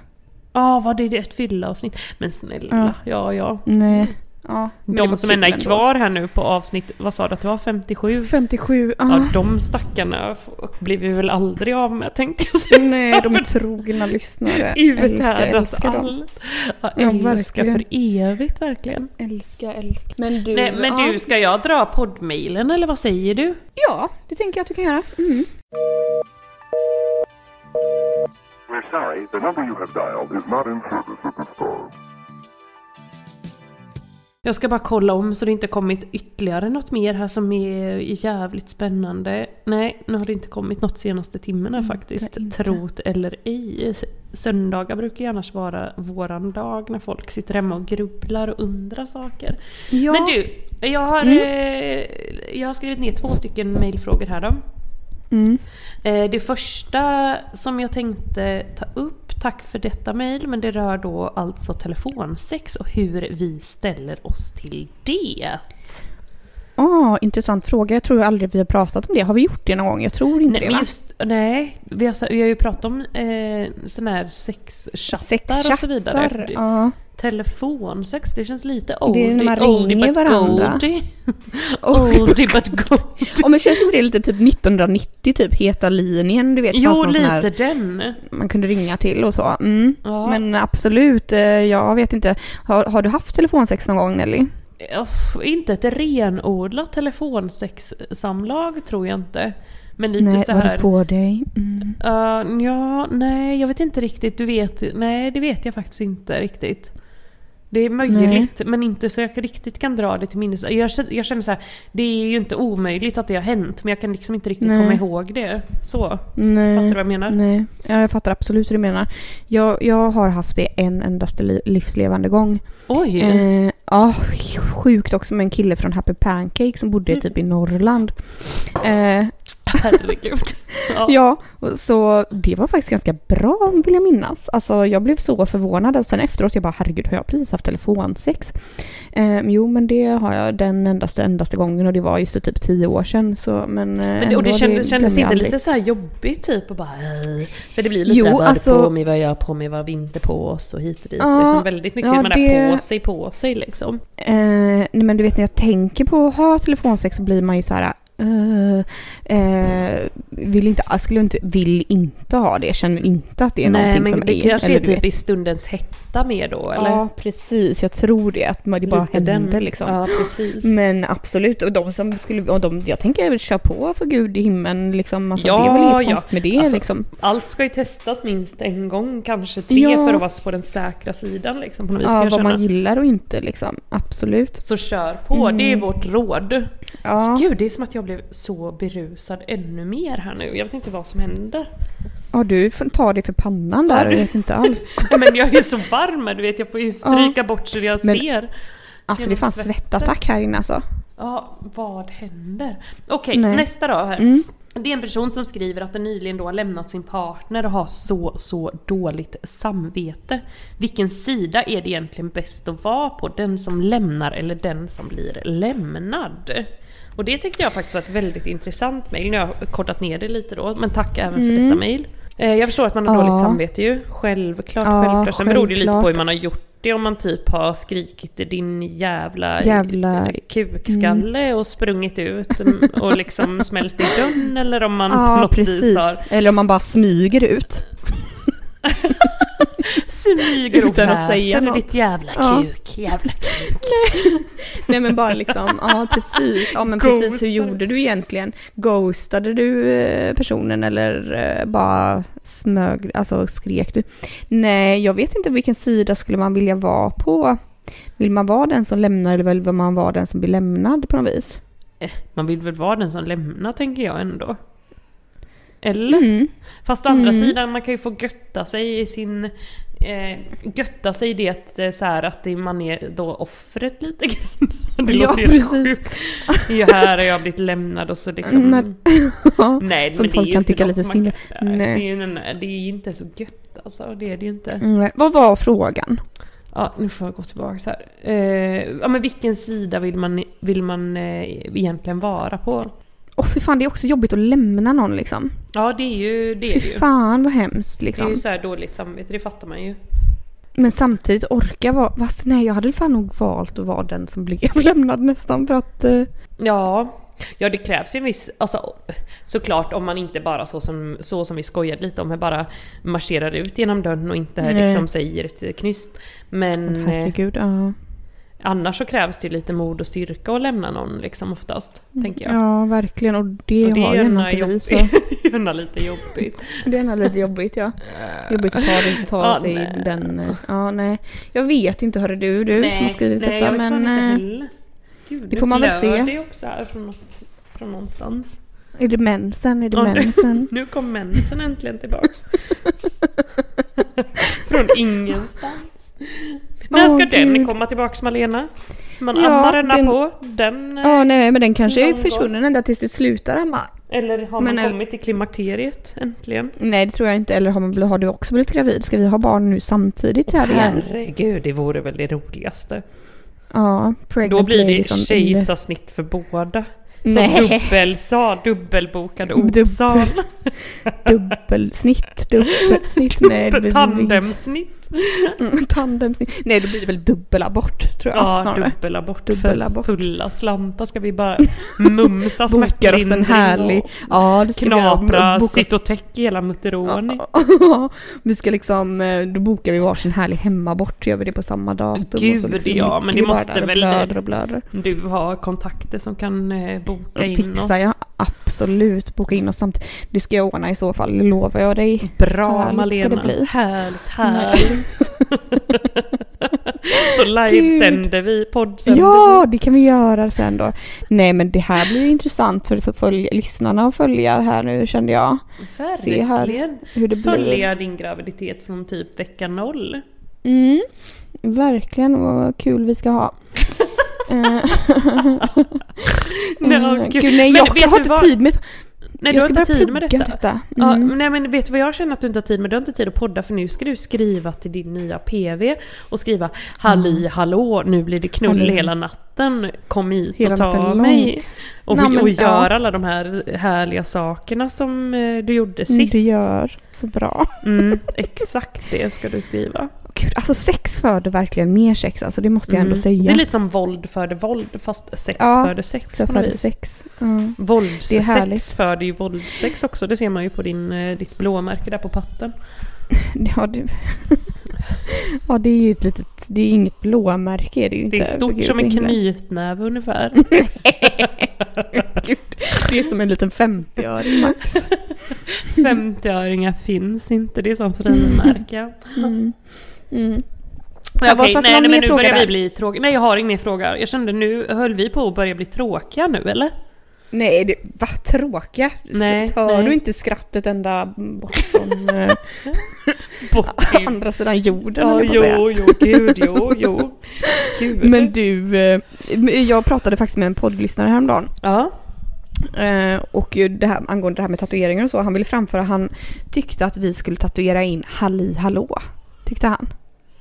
Ja, var det ett fyllaavsnitt? Men snälla, ja, ja.
Nej. Mm. Ja, men det var
De som
kul
ändå är
ändå.
kvar här nu på avsnitt, vad sa du att det var, 57?
57. Ja.
Ja, de stackarna f- blir vi väl aldrig av med tänkte jag säga.
Nej, de är trogna
Mm.
lyssnare.
Uthärdat
älskar dem.
allt. Ja,
Ja,
älska
verkligen.
för evigt verkligen.
Älska, älska. Men du...
Nej, men
Mm, ja.
du, ska jag dra poddmailen eller vad säger du?
Ja, det tänker jag att du kan göra. Mm.
We're sorry, the number you have dialed is not in service at this time.
Jag ska bara kolla om så det inte kommit ytterligare något mer här som är jävligt spännande. Nej, nu har det inte kommit något senaste timmen här faktiskt.
inte.
Trot eller ej. S- Söndagar brukar ju annars vara våran dag när folk sitter hemma och grubblar och undrar saker.
Ja. Mm.
Men du, jag har, eh, jag har skrivit ner två stycken mejlfrågor här då.
Mm.
Eh, Det första som jag tänkte ta upp, tack för detta mejl, men det rör då alltså telefonsex och hur vi ställer oss till det.
Ah, intressant fråga. Jag tror aldrig vi har pratat om det. Har vi gjort det någon gång? Jag tror inte
Nej,
det
men
va?
just, nej vi, har, vi har ju pratat om eh, sån här sexchattar och så vidare.
Sexchattar, Ja.
Telefonsex, det känns lite
är
oldie,
när man
oldie
ringer
but
varandra.
goldie. oldie but goldie.
Ja, men känns inte det lite typ 1990, typ Heta linjen? Du vet, fanns
Jo,
någon sån här
lite den.
man kunde ringa till och så. Mm.
Ja.
Men absolut, eh, jag vet inte. Har, har du haft telefonsex någon gång Nelly?
Uff, inte ett renodlat telefonsexsamlag tror jag inte. Men lite
Nej,
så
var
här...
du på dig? Mm.
eh, ja, nej, jag vet inte riktigt. Du vet... Nej, det vet jag faktiskt inte riktigt. Det är möjligt, men inte så jag riktigt kan dra det till minnes. Jag, kä- jag känner så här, det är ju inte omöjligt att det har hänt, men jag kan liksom inte riktigt
Nej.
komma ihåg det. Så.
Nej.
Fattar du vad jag menar?
Nej, ja, jag fattar absolut hur du menar. Jag, jag har haft det en endaste li- livslevande gång.
Oj!
Eh, ja, sjukt också med en kille från Happy Pancake som bodde typ i Norrland. Eh,
Mm. Herregud. Ja.
Ja, och så det var faktiskt ganska bra vill jag minnas. Alltså jag blev så förvånad och sen efteråt jag bara herregud har jag precis haft telefonsex? Ehm, jo men det har jag den endaste, endaste gången och det var just typ tio år sedan så men... eh,
Men det, och det kändes, kändes inte lite så här jobbigt typ? Och bara, "Ej." för det blir lite
Jo,
jo, vad
alltså-
är det på mig, vad gör jag på mig, vad vinter på oss och hit och dit.
Ja,
liksom väldigt mycket
ja,
man
det-
är på sig, på sig liksom.
Eh, nej men du vet när jag tänker på att ha telefonsex så blir man ju så här. eh, eh, vill inte, jag skulle inte, vill inte ha det, känner inte att det är
Nej
någonting
men
för
det
mig.
kanske
Eller
är
du vet.
typ i stundens hetta mer då eller?
Ja precis, jag tror det. Att man- det bara
Lite
händer liksom.
Ja precis.
Men absolut, och de som skulle, och de, jag tänker väl köra på för gud i himlen liksom. Alltså,
Ja,
det är väl inget
ja.
konstigt med det
Alltså,
liksom.
Allt ska ju testas minst en gång, kanske tre
Ja.
för att vara på den säkra sidan liksom på något vis.
Ja,
kan
vad
jag känna.
man gillar och inte liksom. Absolut.
Så kör på,
Mm.
det är vårt råd.
Ja,
Gud, det är som att jag blev så berusad ännu mer här nu. Jag vet inte vad som händer.
ja du får ta det för pannan där, jag vet inte alls.
Nej, men jag är så varm här, du vet. Jag får ju stryka bort så jag
Men-
ser.
Alltså det
Genom
är fan
svetten.
svettattack här inne alltså.
Ja, vad händer? Okej,
Nej. Mm.
nästa då här. Det är en person som skriver att den nyligen då har lämnat sin partner och har så, så dåligt samvete. Vilken sida är det egentligen bäst att vara på? Den som lämnar eller den som blir lämnad? Och det tyckte jag faktiskt var ett väldigt intressant mejl. Nu har jag kortat ner det lite då, men tack även för detta mejl. Eh, Jag förstår att man har
Mm. Ja.
dåligt samvete ju. Självklart,
Ja,
självklart. Sen beror det ju lite
självklart.
på hur man har gjort det. Om man typ har skrikit din jävla,
Jävla- Mm.
kukskalle och sprungit ut mm, och liksom smält i dörren eller om man på
Ja
något vis
precis.
har
Eller om man bara smyger ut.
smyger och
Utan att säga
väser i
något.
ditt jävla
Ja.
kuk, jävla kuk.
Nej men bara liksom, ja precis. Ja men precis, hur gjorde du egentligen? Ghostade du eh, personen eller eh, bara smög, alltså skrek du? Nej, jag vet inte vilken sida skulle man vilja vara på. Vill man vara den som lämnar eller vill man vara den som blir lämnad på något vis?
Eh, Man vill väl vara den som lämnar tänker jag ändå. Eller?
Mm.
Fast å andra sidan, man kan ju få götta sig i sin eh, götta sig i det eh, så här att det- man är då offret lite grann. Det
Ja,
låter ju
precis.
sjukt. Det är ju här och jag har blivit lämnad och så liksom...
Nej.
Nej,
Som
men det
folk
är ju
kan
inte
tycka
något
lite
man
synd
kan-
om.
Nej.
Nej.
Det är ju en- det är ju inte så gött alltså, det är det ju inte.
Mm, Vad var frågan?
Ja, nu får jag gå tillbaka så här. Eh, ja, men vilken sida vill man, vill man eh, egentligen vara på?
Åh fy fan, det är också jobbigt att lämna någon liksom.
Ja, det är ju det. Är
Fy
ju.
fan vad hemskt
Det är ju
liksom.
så här dåligt samvete, det fattar man ju.
Men samtidigt orka vara... Fast nej, jag hade fan nog valt att vara den som blev lämnad nästan för att... eh,
Ja, ja det krävs ju en viss... Alltså, såklart om man inte bara så som, så som vi skojade lite om, här, bara marscherar ut genom dörren och inte
Nej.
liksom säger ett knyst. Men eh,
Herregud, ja.
annars så krävs det ju lite mod och styrka att lämna någon liksom oftast, tänker jag.
Mm, Ja, verkligen. Och det,
Och det
har
är
ju
gärna
ändå inte vi. Så
jobbigt. Gärna lite jobbigt.
det är ändå lite jobbigt, ja. Jobbigt att ta, ta
Ja,
sig
nej.
den... eh, Ja, nej. Jag vet inte, hörru du, du som har skrivit
nej,
detta.
jag vet fan
men
inte
eh,
heller. Gud,
det får man
nu
väl
blör
se.
det också här från, något, från någonstans.
eh, är det mensen? Är det
Ja, nu-
mensen?
Nu kom mensen äntligen tillbaks. från ingenstans. När
Åh,
ska den
Gud.
komma tillbaks Malena? Man
Ja,
ammar denna
den-
på. Den, eh,
Ja, nej, men den kanske är
Någon gång.
försvunnen ända tills det slutar amma.
eller har
men
man
el-
kommit till klimakteriet äntligen?
Nej, det tror jag inte. Eller har, man, bl- har du också blivit gravid? Ska vi ha barn nu samtidigt här igen?
Herregud, det vore väl det roligaste.
Ja, pregnant
Då blir det
ladies on the-
kejsarsnitt för båda. Som
Nej,
dubbelsal, dubbelbokade
Dubbel-
opsal.
dubbelsnitt. Dubbelsnitt. Nej, det blir-
Tandemsnitt.
Mm, tandemsnitt. Nej, då blir det väl dubbelabort tror jag
Ja, typ
snarare.
dubbelabort för
Dubbelabort.
fulla slantar ska vi bara
Bokar
mumsa
oss en
smärtlindring
härlig...
och
Ja, det ska vi göra.
knapra
Boka oss-
Cytotec i hela Mutteroni.
Vi ska liksom, eh, då bokar vi varsin härlig hemmabort, gör vi det på samma datum. och så
Gud,
liksom
ja, men det
ligger vi bara
måste
där och
väl-
Blöder och blöder.
Du har kontakter som kan eh, boka in
Fixa
oss.
ja, absolut. Boka in oss samtidigt. Det ska jag ordna i så fall, det lovar jag dig.
Mm. Bra
Härligt
Malena.
ska det bli.
Härligt, härligt. så livesänder vi, poddsänder
Ja, det kan vi göra sen då. Nej men det här blir ju intressant för, för följ, lyssnarna att följa här nu kände jag.
vi.
Se här
Verkligen.
Hur det blir.
Följa din graviditet från typ vecka noll.
Mm, verkligen vad kul vi ska ha. Eh,
Nej,
eh,
åh,
gud, nej,
Men
jag,
vet
jag har
du
inte
vad?
tid med...
Nej,
jag
du har inte
börja
tid med
plugga
detta. Ja,
Mm.
men nej, men vet du vad jag känner att du inte har tid med? Du har inte tid att podda för nu ska du skriva till din nya PV och skriva Halli hallå, nu blir det knull
Halli.
hela natten. Kom hit
Hela
och ta
natten lång."
mig. Och,
Nej, men,
och
ja.
gör alla de här härliga sakerna som eh, du gjorde sist.
Du Mm, gör så bra.
Mm, exakt det ska du skriva.
Gud, alltså sex föder verkligen mer sex, alltså det måste jag ändå
Mm.
säga.
Det är lite som våld föder våld fast sex
Ja,
föder sex
sex
på något
föder
vis.
sex. Mm. Det är härligt.
Våldssex föder ju våldssex också, det ser man ju på din, eh, ditt blåmärke där på patten.
Ja, det... ja, det är ju ett litet... Det är inget blåmärke är det ju inte.
Det är stort
Gud,
som
det
en
är himla-
knytnäve ungefär.
Gud, det är som en liten 50-öring max.
50-öringar finns inte, det är som frimärken.
Mm. Mm. var-
Okej,
fast det var
nej, nej
mer
men nu
fråga
börjar vi
där.
bli tråkiga. Nej jag har ingen mer fråga. Jag kände nu, höll vi på att börja bli tråkiga nu eller?
Nej, det, vad tråkiga. S-
Nej,
Hör
nej.
du inte skrattet ända bort från eh,
Bort till...
andra sidan jorden?
Ja,
höll jag på att säga.
jo, jo, gud, jo, jo. Gud.
Men du, eh, jag pratade faktiskt med en poddlyssnare häromdagen.
Ja.
Eh, och ju det här, angående det här med tatueringar och så, han ville framföra, han tyckte att vi skulle tatuera in Halli hallå. Tyckte han.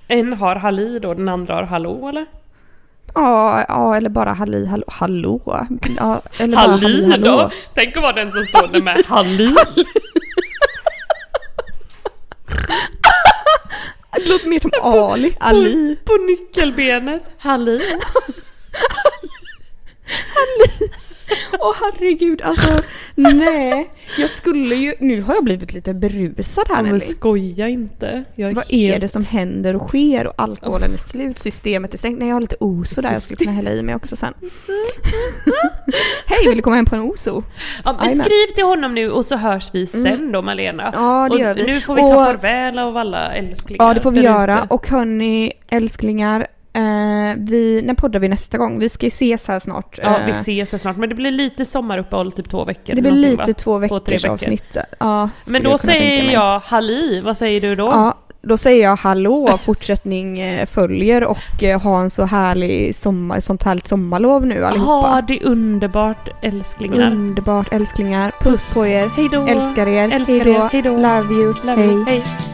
En har Halli då, den andra har Hallå eller?
Ja, ja eller bara Halli hallå. hallå. Ja, eller bara
Halli då? Tänk att vara den som står där med Halli.
Det låter mer som Ali. Ali.
På nyckelbenet. Halli.
Åh herregud, alltså nej. Jag skulle ju, nu har jag blivit lite berusad här
Ja, men
Nelly.
skoja inte. Jag
Vad är
helt-
det som händer och sker och alkoholen är slut, systemet är stängt. Nej jag har lite oso där, jag skulle kunna hälla i mig också sen. Hej, vill du komma hem på en oso?
Ja, men
Jajamän.
skriv till honom nu och så hörs vi sen då Malena.
Mm. Ja, det
och
gör vi.
Nu får vi ta
Och-
farväl av alla älsklingar
Ja det får vi
där
göra
ute.
och hörni älsklingar, eh, vi, när poddar vi nästa gång? Vi ska ju ses här snart.
Ja, vi
Eh,
ses här snart. Men det blir lite sommaruppehåll, typ två veckor.
det blir
eller någonting,
lite
va?
två
Två, tre
veckors
veckor.
avsnitt. Ja, skulle
Men då
jag kunna tänka
säger
mig.
jag Halli, vad säger du då?
Ja, Då säger jag hallå, fortsättning eh, följer och eh, ha en så härlig sommar, sånt härligt sommarlov nu
Ha
allihopa. Mm.
det underbart älsklingar.
Underbart älsklingar. Puss på er.
Hej då.
Älskar er.
Älskar er.
Hej
Hej
då.
då.
Love you.
Love you. Hej.